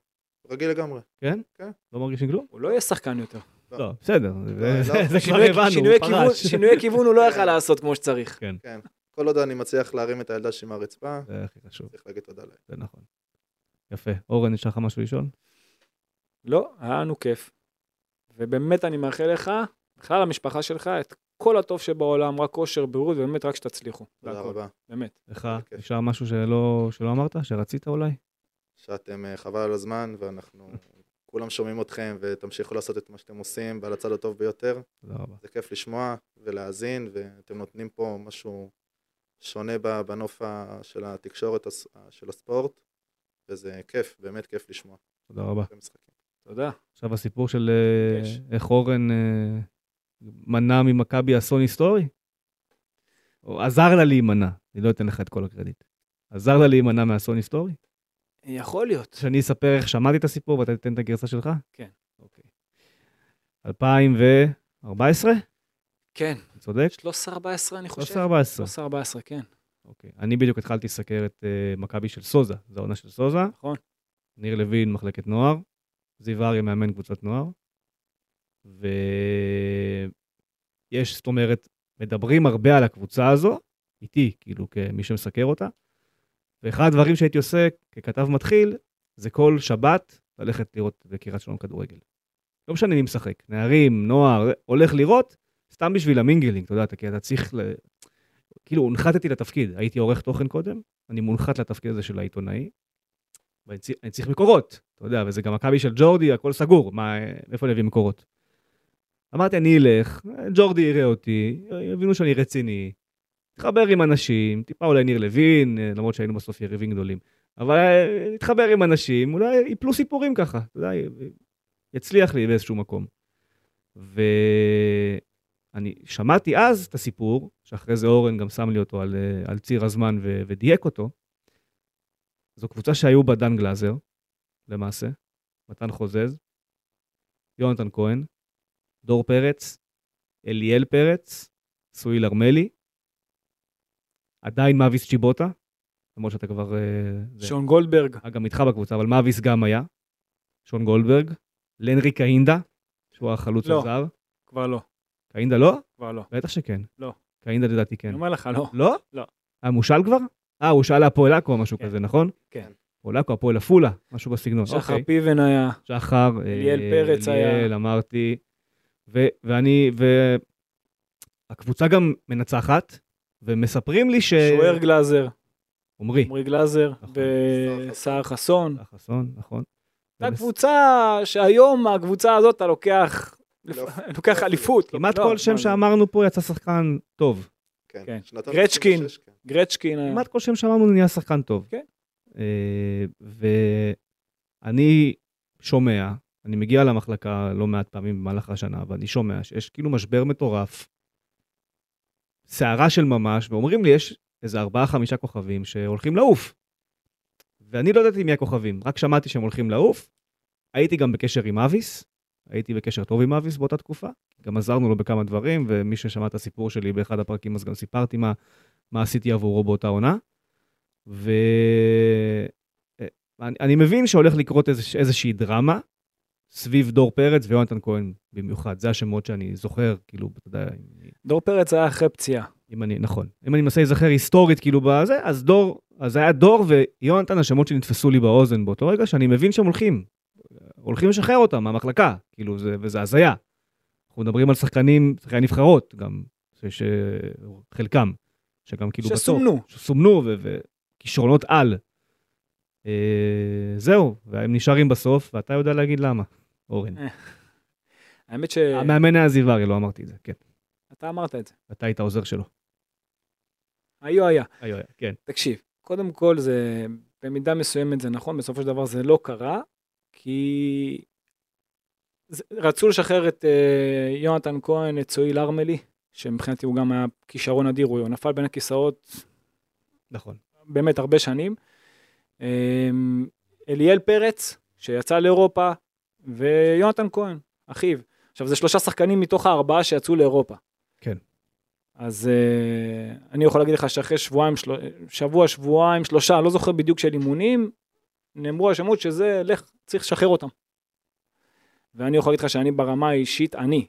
[SPEAKER 4] רגיל לגמרי.
[SPEAKER 2] כן?
[SPEAKER 4] כן.
[SPEAKER 2] לא מרגישים כלום?
[SPEAKER 3] הוא לא יהיה שחקן יותר.
[SPEAKER 4] לא.
[SPEAKER 2] לא, בסדר. זה-
[SPEAKER 4] לא.
[SPEAKER 2] זה כבר
[SPEAKER 3] שינוי-
[SPEAKER 2] הבנו,
[SPEAKER 3] שינוי
[SPEAKER 2] הוא
[SPEAKER 3] כיוון-
[SPEAKER 2] פרש.
[SPEAKER 3] שינוי כיוון הוא לא יכל לעשות כמו שצריך.
[SPEAKER 4] כל עוד אני מצליח להרים את הילדה שלי מהרצפה,
[SPEAKER 2] זה הכי חשוב,
[SPEAKER 4] צריך להגיד תודה להם.
[SPEAKER 2] זה נכון. יפה. אורן, יש לך משהו לשאול?
[SPEAKER 3] לא, היה לנו כיף. ובאמת אני מאחל לך, בכלל למשפחה שלך, את כל הטוב שבעולם, רק אושר, בריאות, ובאמת רק שתצליחו.
[SPEAKER 4] תודה
[SPEAKER 3] והכל,
[SPEAKER 4] רבה.
[SPEAKER 3] באמת.
[SPEAKER 2] לך
[SPEAKER 4] בכיף.
[SPEAKER 2] נשאר משהו שלא שלא אמרת? שרצית אולי?
[SPEAKER 4] שאתם אה, חבל על הזמן, ואנחנו כולם שומעים אתכם, ותמשיכו לעשות את מה שאתם עושים, ועל הצד הטוב ביותר.
[SPEAKER 2] תודה רבה.
[SPEAKER 4] זה כיף לשמוע ולהאזין, ואתם נותנים פה משהו שונה ב- בנוף ה- של התקשורת הס- של הספורט, וזה כיף, באמת כיף לשמוע.
[SPEAKER 2] תודה רבה.
[SPEAKER 4] אחרי משחקים.
[SPEAKER 3] תודה.
[SPEAKER 2] עכשיו הסיפור של אה,
[SPEAKER 3] מרגש.
[SPEAKER 2] איך אורן אה, מנע ממכבי אסון היסטורי? או עזר לה להימנע, אני לא אתן לך את כל הקרדיט. עזר לה להימנע מאסון היסטורי?
[SPEAKER 3] יכול להיות.
[SPEAKER 2] שאני אספר איך שמעתי את הסיפור ואתה תיתן את הגרסה שלך?
[SPEAKER 3] כן.
[SPEAKER 2] אוקיי. 2014?
[SPEAKER 3] כן,
[SPEAKER 2] אני צודק?
[SPEAKER 3] 13-14 אני חושב.
[SPEAKER 2] 2014.
[SPEAKER 3] 13-14, כן.
[SPEAKER 2] אוקיי. אני בדיוק התחלתי לסקר את אה, מכבי של סוזה, זו העונה של סוזה.
[SPEAKER 3] נכון.
[SPEAKER 2] ניר לוין, מחלקת נוער. זיו אריה, מאמן קבוצת נוער. ויש, זאת אומרת, מדברים הרבה על הקבוצה הזו, איתי, כאילו, כמי שמסקר אותה. ואחד הדברים שהייתי עושה ככתב מתחיל, זה כל שבת ללכת לראות בקריית שלום כדורגל. לא משנה מי משחק, נערים, נוער, הולך לראות, סתם בשביל המינגלינג, אתה יודע, אתה- כי אתה צריך ל- כאילו הונחתתי לתפקיד, הייתי עורך תוכן קודם, אני מונחת לתפקיד הזה של העיתונאי, ואני צריך, אני צריך מקורות, אתה יודע, וזה גם מכבי של ג'ורדי, הכל סגור, מה, מאיפה אני אביא מקורות? אמרתי, אני אלך, ג'ורדי יראה אותי, יבינו שאני רציני, אתחבר עם אנשים, טיפה אולי ניר לוין, אה, למרות שהיינו בסוף יריבים גדולים, אבל אה, נתחבר עם אנשים, אולי ייפלו סיפורים ככה, אתה יודע, י- יצליח לי באיזשהו מקום. ו... אני שמעתי אז את הסיפור, שאחרי זה אורן גם שם לי אותו על, אה, על ציר הזמן ו, ודייק אותו. זו קבוצה שהיו בה דן גלאזר, למעשה, מתן חוזז, יונתן כהן, דור פרץ, אליאל פרץ, סואיל ארמלי, עדיין מאביס צ'יבוטה, למרות שאתה כבר... אה, זה-
[SPEAKER 3] שון גולדברג.
[SPEAKER 2] אה, גם איתך בקבוצה, אבל מאביס גם היה, שון גולדברג, לנרי קהינדה, שהוא החלוץ
[SPEAKER 3] לא.
[SPEAKER 2] הזר.
[SPEAKER 3] כבר לא,
[SPEAKER 2] קהינדה לא?
[SPEAKER 3] כבר לא.
[SPEAKER 2] בטח שכן.
[SPEAKER 3] לא.
[SPEAKER 2] קהינדה לדעתי כן.
[SPEAKER 3] אני אומר לך, לא.
[SPEAKER 2] לא?
[SPEAKER 3] לא.
[SPEAKER 2] אה, מושל כבר? אה, הוא שאל להפועל עכו או משהו
[SPEAKER 3] כן.
[SPEAKER 2] כזה, נכון?
[SPEAKER 3] כן.
[SPEAKER 2] הפועל עכו, הפועל עפולה, משהו בסגנון.
[SPEAKER 3] שחר
[SPEAKER 2] אוקיי.
[SPEAKER 3] פיבן היה.
[SPEAKER 2] שחר,
[SPEAKER 3] אליאל
[SPEAKER 2] אה,
[SPEAKER 3] פרץ היה.
[SPEAKER 2] אליאל, אמרתי. ו- ואני, והקבוצה גם מנצחת, ומספרים לי ש...
[SPEAKER 3] שוער גלאזר,
[SPEAKER 2] עמרי.
[SPEAKER 3] עמרי גלאזר,
[SPEAKER 2] אה, נכון.
[SPEAKER 3] וסער חסון.
[SPEAKER 2] אה, חסון, נכון.
[SPEAKER 3] הייתה
[SPEAKER 2] ומס-
[SPEAKER 3] קבוצה שהיום הקבוצה הזאת אתה לוקח,
[SPEAKER 4] פלייאוף.
[SPEAKER 3] לוקח אליפות.
[SPEAKER 2] כמעט
[SPEAKER 3] לא,
[SPEAKER 2] כל
[SPEAKER 3] לא,
[SPEAKER 2] שם
[SPEAKER 3] מה זה?
[SPEAKER 2] שאמרנו פה יצא שחקן טוב.
[SPEAKER 4] כן.
[SPEAKER 3] כן.
[SPEAKER 4] שנתון
[SPEAKER 3] גרצ'קין.
[SPEAKER 4] 96, כן.
[SPEAKER 3] גרצ'קין אה, היה.
[SPEAKER 2] כמעט כל שם שאמרנו נהיה שחקן טוב.
[SPEAKER 3] כן.
[SPEAKER 2] אה, ואני שומע, אני מגיע למחלקה לא מעט פעמים במהלך השנה, ואני שומע שיש כאילו משבר מטורף, סערה של ממש, ואומרים לי, יש איזה ארבעה-חמישה כוכבים שהולכים לעוף. ואני לא ידעתי מי הכוכבים, רק שמעתי שהם הולכים לעוף. הייתי גם בקשר עם אביס, הייתי בקשר טוב עם אביס באותה תקופה. גם עזרנו לו בכמה דברים, ומי ששמע את הסיפור שלי באחד הפרקים, אז גם סיפרתי מה, מה עשיתי עבורו באותה עונה. ואני אני מבין שהולך לקרות איזוש, איזושהי דרמה סביב דור פרץ ויונתן כהן במיוחד. זה השמות שאני זוכר, כאילו, אתה יודע, אם,
[SPEAKER 3] דור פרץ היה אחרי פציעה.
[SPEAKER 2] אם אני, נכון. אם אני מנסה להיזכר היסטורית, כאילו, בזה, אז דור, אז היה דור ויונתן, השמות שנתפסו לי באוזן באותו רגע, שאני מבין שהם הולכים. הולכים לשחרר אותם מהמחלקה, כאילו, זה, וזה הזיה. אנחנו מדברים על שחקנים, שחקני נבחרות גם, ש- שחלקם, שגם כאילו בסוף.
[SPEAKER 3] שסומנו.
[SPEAKER 2] שסומנו וכישרונות על. אה, זהו, והם נשארים בסוף, ואתה יודע להגיד למה, אורן.
[SPEAKER 3] האמת
[SPEAKER 2] המאמן היה זיו אריה, לא אמרתי את זה, כן.
[SPEAKER 3] שאתה אמרת את זה.
[SPEAKER 2] אתה היית העוזר שלו.
[SPEAKER 3] היו היה.
[SPEAKER 2] היו, היה, כן.
[SPEAKER 3] תקשיב, קודם כל זה, במידה מסוימת זה נכון, בסופו של דבר זה לא קרה, כי זה, רצו לשחרר את אה, יונתן כהן, את סואיל ארמלי, שמבחינתי הוא גם היה כישרון אדיר, הוא נפל בין הכיסאות
[SPEAKER 2] נכון.
[SPEAKER 3] באמת הרבה שנים. אה, אליאל פרץ, שיצא לאירופה, ויונתן כהן, אחיו. עכשיו, זה שלושה שחקנים מתוך הארבעה שיצאו לאירופה.
[SPEAKER 2] כן.
[SPEAKER 3] אז אה, אני יכול להגיד לך שאחרי שבועיים, של... שבוע, שבועיים, שלושה, לא זוכר בדיוק של אימונים, נאמרו השמות שזה, לך, צריך לשחרר אותם. ואני יכול להגיד לך שאני ברמה האישית, אני,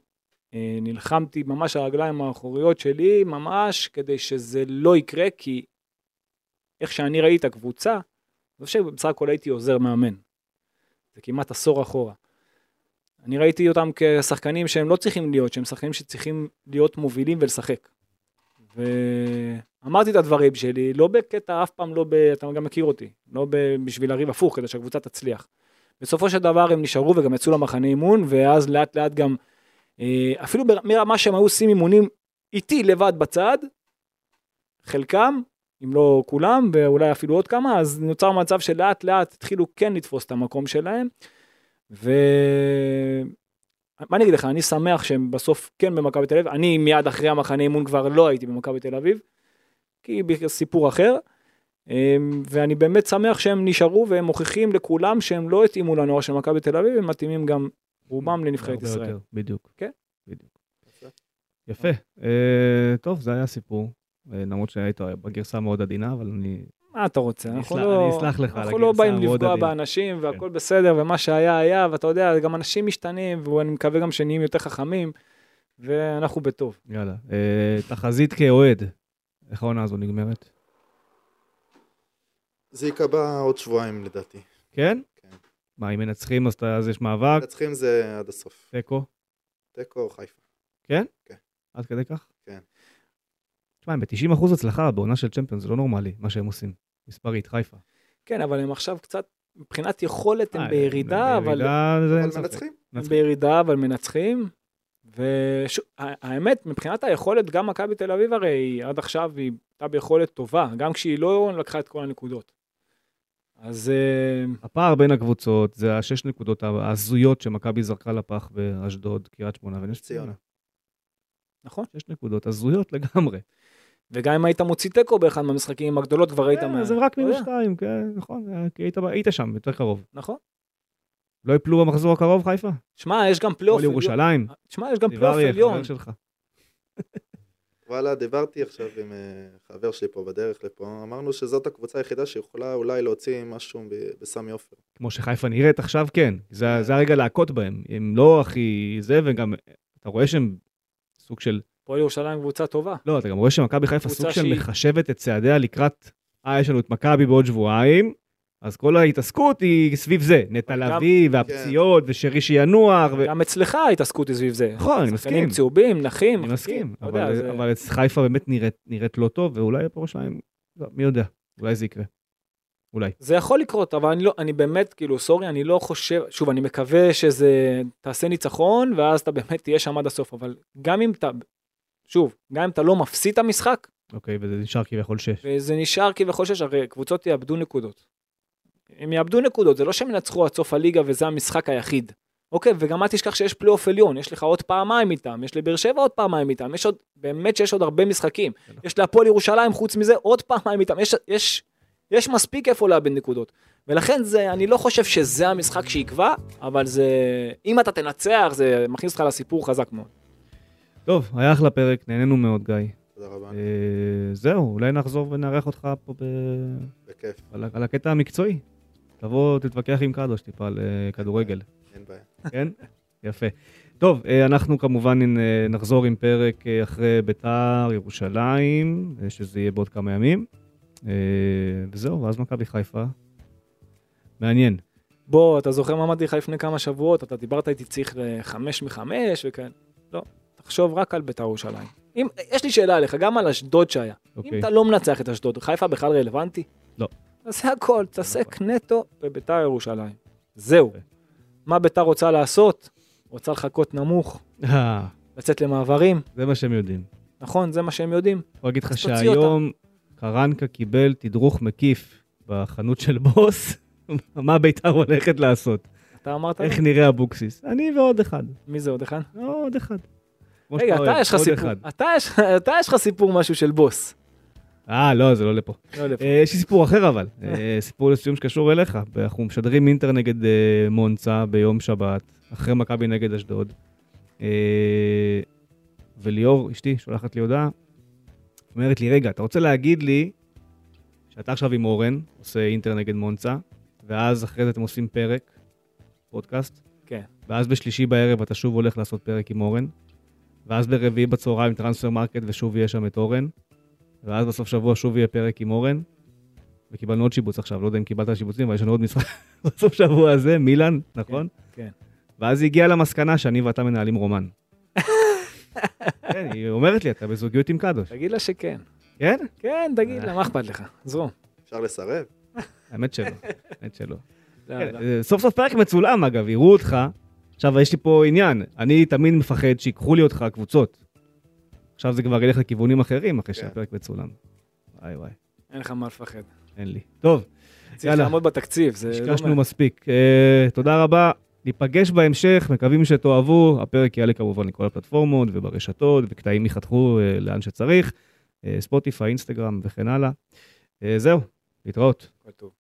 [SPEAKER 3] אה, נלחמתי ממש על הרגליים האחוריות שלי, ממש כדי שזה לא יקרה, כי איך שאני ראיתי את הקבוצה, אני חושב שבסך הכל הייתי עוזר מאמן. זה כמעט עשור אחורה. אני ראיתי אותם כשחקנים שהם לא צריכים להיות, שהם שחקנים שצריכים להיות מובילים ולשחק. ואמרתי את הדברים שלי, לא בקטע, אף פעם לא ב... אתה גם מכיר אותי, לא ב... בשביל לריב הפוך, כדי שהקבוצה תצליח. בסופו של דבר הם נשארו וגם יצאו למחנה אימון, ואז לאט לאט גם, אה, אפילו בר- מרמה שהם היו עושים אימונים איתי לבד בצד, חלקם, אם לא כולם, ואולי אפילו עוד כמה, אז נוצר מצב שלאט לאט התחילו כן לתפוס את המקום שלהם. ו... מה אני אגיד לך, אני שמח שהם בסוף כן במכבי תל אביב, אני מיד אחרי המחנה אימון כבר לא הייתי במכבי תל אביב, כי סיפור אחר, אמ, ואני באמת שמח שהם נשארו והם מוכיחים לכולם שהם לא התאימו לנוער של מכבי תל אביב, הם מתאימים גם רובם לנבחרת
[SPEAKER 2] הרבה
[SPEAKER 3] ישראל.
[SPEAKER 2] יותר, בדיוק.
[SPEAKER 3] כן.
[SPEAKER 2] בדיוק. יפה. אה, טוב, זה היה הסיפור. אה, למרות שהיית בגרסה מאוד עדינה, אבל אני...
[SPEAKER 3] מה אתה רוצה?
[SPEAKER 2] אני
[SPEAKER 3] אנחנו
[SPEAKER 2] אסלח-
[SPEAKER 3] לא-
[SPEAKER 2] אני אסלח לך על
[SPEAKER 3] אנחנו לא
[SPEAKER 2] הגרסה
[SPEAKER 3] באים
[SPEAKER 2] המאוד כן.
[SPEAKER 3] לפגוע
[SPEAKER 2] עדינה.
[SPEAKER 3] באנשים והכל בסדר ומה שהיה היה ואתה יודע גם אנשים משתנים ואני מקווה גם שנהיים יותר חכמים ואנחנו בטוב.
[SPEAKER 2] יאללה. אה, תחזית כאוהד. איך העונה הזו נגמרת?
[SPEAKER 4] זה ייקבע עוד שבועיים לדעתי.
[SPEAKER 2] כן?
[SPEAKER 4] כן.
[SPEAKER 2] מה, אם מנצחים אז אתה- אז יש מאבק,
[SPEAKER 4] מנצחים זה עד הסוף.
[SPEAKER 2] תיקו,
[SPEAKER 4] תיקו או חיפה.
[SPEAKER 2] עד כדי כך?
[SPEAKER 4] כן.
[SPEAKER 2] תשמע, הם ב-90% הצלחה בעונה של צ'מפיון, זה לא נורמלי, מה שהם עושים. מספרית, חיפה.
[SPEAKER 3] כן אבל הם עכשיו קצת מבחינת יכולת הם
[SPEAKER 2] אה,
[SPEAKER 3] בירידה אבל
[SPEAKER 2] בירידה, זה אין
[SPEAKER 4] אבל
[SPEAKER 2] ספק.
[SPEAKER 4] מנצחים.
[SPEAKER 3] הם
[SPEAKER 2] מנצחים.
[SPEAKER 3] בירידה אבל מנצחים. והאמת מבחינת היכולת גם מכבי תל אביב הרי היא עד עכשיו היא הייתה ביכולת טובה גם כשהיא לא לקחה את כל הנקודות. אז אה,
[SPEAKER 2] הפער בין הקבוצות זה השש נקודות ההזויות שמכבי זרקה לפח באשדוד, קריית שמונה ונס ציונה.
[SPEAKER 4] ציונה.
[SPEAKER 3] נכון
[SPEAKER 2] שש נקודות הזויות לגמרי.
[SPEAKER 3] וגם אם היית מוציא תיקו באחד מהמשחקים הגדולות כבר לא היית.
[SPEAKER 2] כן,
[SPEAKER 3] מה-
[SPEAKER 2] אז הם רק
[SPEAKER 3] אתה יודע,
[SPEAKER 2] מינוס שתיים, כן, נכון, אה, כי היית ב- היית שם, יותר קרוב.
[SPEAKER 3] נכון.
[SPEAKER 2] לא יפלו במחזור הקרוב, חיפה?
[SPEAKER 3] שמע, יש גם פלייאוף
[SPEAKER 2] כל
[SPEAKER 3] עליון.
[SPEAKER 2] ירושלים.
[SPEAKER 3] שמע, יש לא, גם פלייאוף
[SPEAKER 2] דיבריה,
[SPEAKER 3] עליון.
[SPEAKER 2] חבר שלך.
[SPEAKER 4] וואלה, דיברתי עכשיו עם אה, חבר שלי פה בדרך לפה, אמרנו שזאת הקבוצה היחידה שיכולה אולי להוציא משהו ב- בסמי עופר.
[SPEAKER 2] כמו שחיפה נראית עכשיו, כן. זה זה הרגע להכות בהם. הם לא הכי זה, וגם, אתה רואה שהם סוג של
[SPEAKER 3] הפועל ירושלים קבוצה טובה.
[SPEAKER 2] לא, אתה גם רואה שמכבי חיפה
[SPEAKER 3] קבוצה
[SPEAKER 2] סוג של
[SPEAKER 3] שהיא-
[SPEAKER 2] מחשבת את צעדיה לקראת, אה, יש לנו את מכבי בעוד שבועיים, אז כל ההתעסקות היא סביב זה, נטע
[SPEAKER 3] גם-
[SPEAKER 2] לביא והפציעות ושרי שינוח. ו-
[SPEAKER 3] כן. גם אצלך ההתעסקות היא סביב זה.
[SPEAKER 2] נכון, אני
[SPEAKER 3] שחקנים
[SPEAKER 2] מסכים,
[SPEAKER 3] צהובים, נחים.
[SPEAKER 2] אני
[SPEAKER 3] מחליקים.
[SPEAKER 2] מסכים,
[SPEAKER 3] אתה יודע,
[SPEAKER 2] אבל
[SPEAKER 3] זה-
[SPEAKER 2] אבל אצל חיפה באמת נראית- נראית לא טוב, ואולי פה ירושלים, לא, מי יודע, אולי זה יקרה. אולי.
[SPEAKER 3] זה יכול לקרות, אבל אני לא, אני באמת, כאילו, סורי, אני לא חושב, שוב, אני מקווה שזה, תעשה ניצחון, ואז אתה באמת תהיה שם עד הסוף, אבל גם אם אתה, שוב, גם אם אתה לא מפסיד את המשחק,
[SPEAKER 2] אוקיי, וזה נשאר כביכול שש.
[SPEAKER 3] וזה נשאר כביכול שש, הרי קבוצות יאבדו נקודות. הם יאבדו נקודות, זה לא שהם ינצחו עד סוף הליגה וזה המשחק היחיד. אוקיי, וגם אל תשכח שיש פלייאוף עליון, יש לך עוד פעמיים איתם, יש לבאר שבע עוד פעמיים איתם, יש עוד, באמת שיש עוד הרבה משחקים.
[SPEAKER 2] נכון.
[SPEAKER 3] יש להפועל ירושלים, חוץ מזה, עוד פעמיים איתם, יש, יש, יש מספיק איפה לאבד נקודות. ולכן זה, אני לא חושב שזה המשחק שיקבע, אבל זה, אם אתה תנצח, זה מכניס אותך לסיפור חזק מאוד.
[SPEAKER 2] טוב, היה אחלה פרק, נהנינו מאוד, גיא.
[SPEAKER 4] תודה רבה,
[SPEAKER 2] אה, זהו, אולי נחזור ונארח אותך פה ב-
[SPEAKER 4] בכיף,
[SPEAKER 2] על, ה- על הקטע המקצועי. תבוא, תתווכח עם קדוש טיפה על אה, כדורגל,
[SPEAKER 4] אין בעיה.
[SPEAKER 2] כן? יפה. טוב, אה, אנחנו כמובן אה, נחזור עם פרק אה, אחרי ביתר, ירושלים, אה, שזה יהיה בעוד כמה ימים. אה, וזהו, ואז מכבי חיפה. מעניין.
[SPEAKER 3] בוא, אתה זוכר מה אמרתי לך לפני כמה שבועות? אתה דיברת איתי צריך לחמש מחמש וכאלה. לא, תחשוב רק על בית"ר ירושלים. אם, יש לי שאלה אליך, גם על אשדוד שהיה. אם
[SPEAKER 2] אוקיי.
[SPEAKER 3] אתה לא מנצח את אשדוד, חיפה בכלל רלוונטי?
[SPEAKER 2] לא.
[SPEAKER 3] תעשה הכל, תעסק
[SPEAKER 2] נכון.
[SPEAKER 3] נטו בבית"ר ירושלים. זהו.
[SPEAKER 2] אוקיי.
[SPEAKER 3] מה בית"ר רוצה לעשות? רוצה לחכות נמוך,
[SPEAKER 2] אה,
[SPEAKER 3] לצאת למעברים,
[SPEAKER 2] זה מה שהם יודעים.
[SPEAKER 3] נכון? זה מה שהם יודעים.
[SPEAKER 2] אני אגיד לך
[SPEAKER 3] אז תוציא
[SPEAKER 2] שהיום קרנקה קיבל תדרוך מקיף בחנות של בוס, מה ביתר הולכת לעשות,
[SPEAKER 3] אתה אמרת?
[SPEAKER 2] איך נראה אבוקסיס. אני ועוד אחד.
[SPEAKER 3] מי זה עוד אחד?
[SPEAKER 2] לא, עוד אחד. כמו
[SPEAKER 3] רגע,
[SPEAKER 2] שאתה
[SPEAKER 3] אתה
[SPEAKER 2] אוהב,
[SPEAKER 3] יש לך
[SPEAKER 2] עוד
[SPEAKER 3] סיפור.
[SPEAKER 2] אחד.
[SPEAKER 3] אתה יש- אתה יש לך סיפור משהו של בוס.
[SPEAKER 2] אה, לא, זה לא לפה.
[SPEAKER 3] לא לפה.
[SPEAKER 2] אה, יש לי סיפור אחר אבל, אה, סיפור לסיום שקשור אליך. אנחנו משדרים אינטר נגד אה, מונצה ביום שבת, אחרי מכבי נגד אשדוד. אה, וליאור, אשתי, שולחת לי הודעה, אומרת לי, רגע, אתה רוצה להגיד לי שאתה עכשיו עם אורן, עושה אינטר נגד מונצה, ואז אחרי זה אתם עושים פרק, פודקאסט,
[SPEAKER 3] כן.
[SPEAKER 2] ואז בשלישי בערב אתה שוב הולך לעשות פרק עם אורן, ואז ברביעי בצהריים טרנספר מרקט ושוב יהיה שם את אורן, ואז בסוף שבוע שוב יהיה פרק עם אורן, וקיבלנו עוד שיבוץ עכשיו, לא יודע אם קיבלת שיבוצים, אבל יש לנו עוד משחק בסוף שבוע הזה, מילאן, נכון?
[SPEAKER 3] כן.
[SPEAKER 2] ואז היא הגיעה למסקנה שאני ואתה מנהלים רומן. כן, היא אומרת לי, אתה בזוגיות עם קדוש.
[SPEAKER 3] תגיד לה שכן.
[SPEAKER 2] כן?
[SPEAKER 3] כן, תגיד לה, מה אכפת לך? זרום.
[SPEAKER 4] אפשר לסרב?
[SPEAKER 2] האמת שלא, האמת שלא.
[SPEAKER 3] לא,
[SPEAKER 2] כן,
[SPEAKER 3] לא.
[SPEAKER 2] אה, סוף סוף פרק מצולם אגב, יראו אותך. עכשיו יש לי פה עניין, אני תמיד מפחד שיקחו לי אותך קבוצות. עכשיו זה כבר ילך לכיוונים אחרים אחרי
[SPEAKER 4] כן.
[SPEAKER 2] שהפרק מצולם. וואי וואי.
[SPEAKER 3] אין לך מה לפחד.
[SPEAKER 2] אין לי. טוב,
[SPEAKER 3] צריך
[SPEAKER 2] יאללה.
[SPEAKER 3] לעמוד בתקציב, זה... לא
[SPEAKER 2] השקשנו
[SPEAKER 3] מה-
[SPEAKER 2] מספיק. אה, תודה רבה, ניפגש בהמשך, מקווים שתאהבו. הפרק יעלה כמובן לכל הפלטפורמות וברשתות, וקטעים ייחתכו אה, לאן שצריך, אה, ספוטיפיי, אינסטגרם וכן הלאה. אה, זהו, להתראות.
[SPEAKER 3] הכל טוב.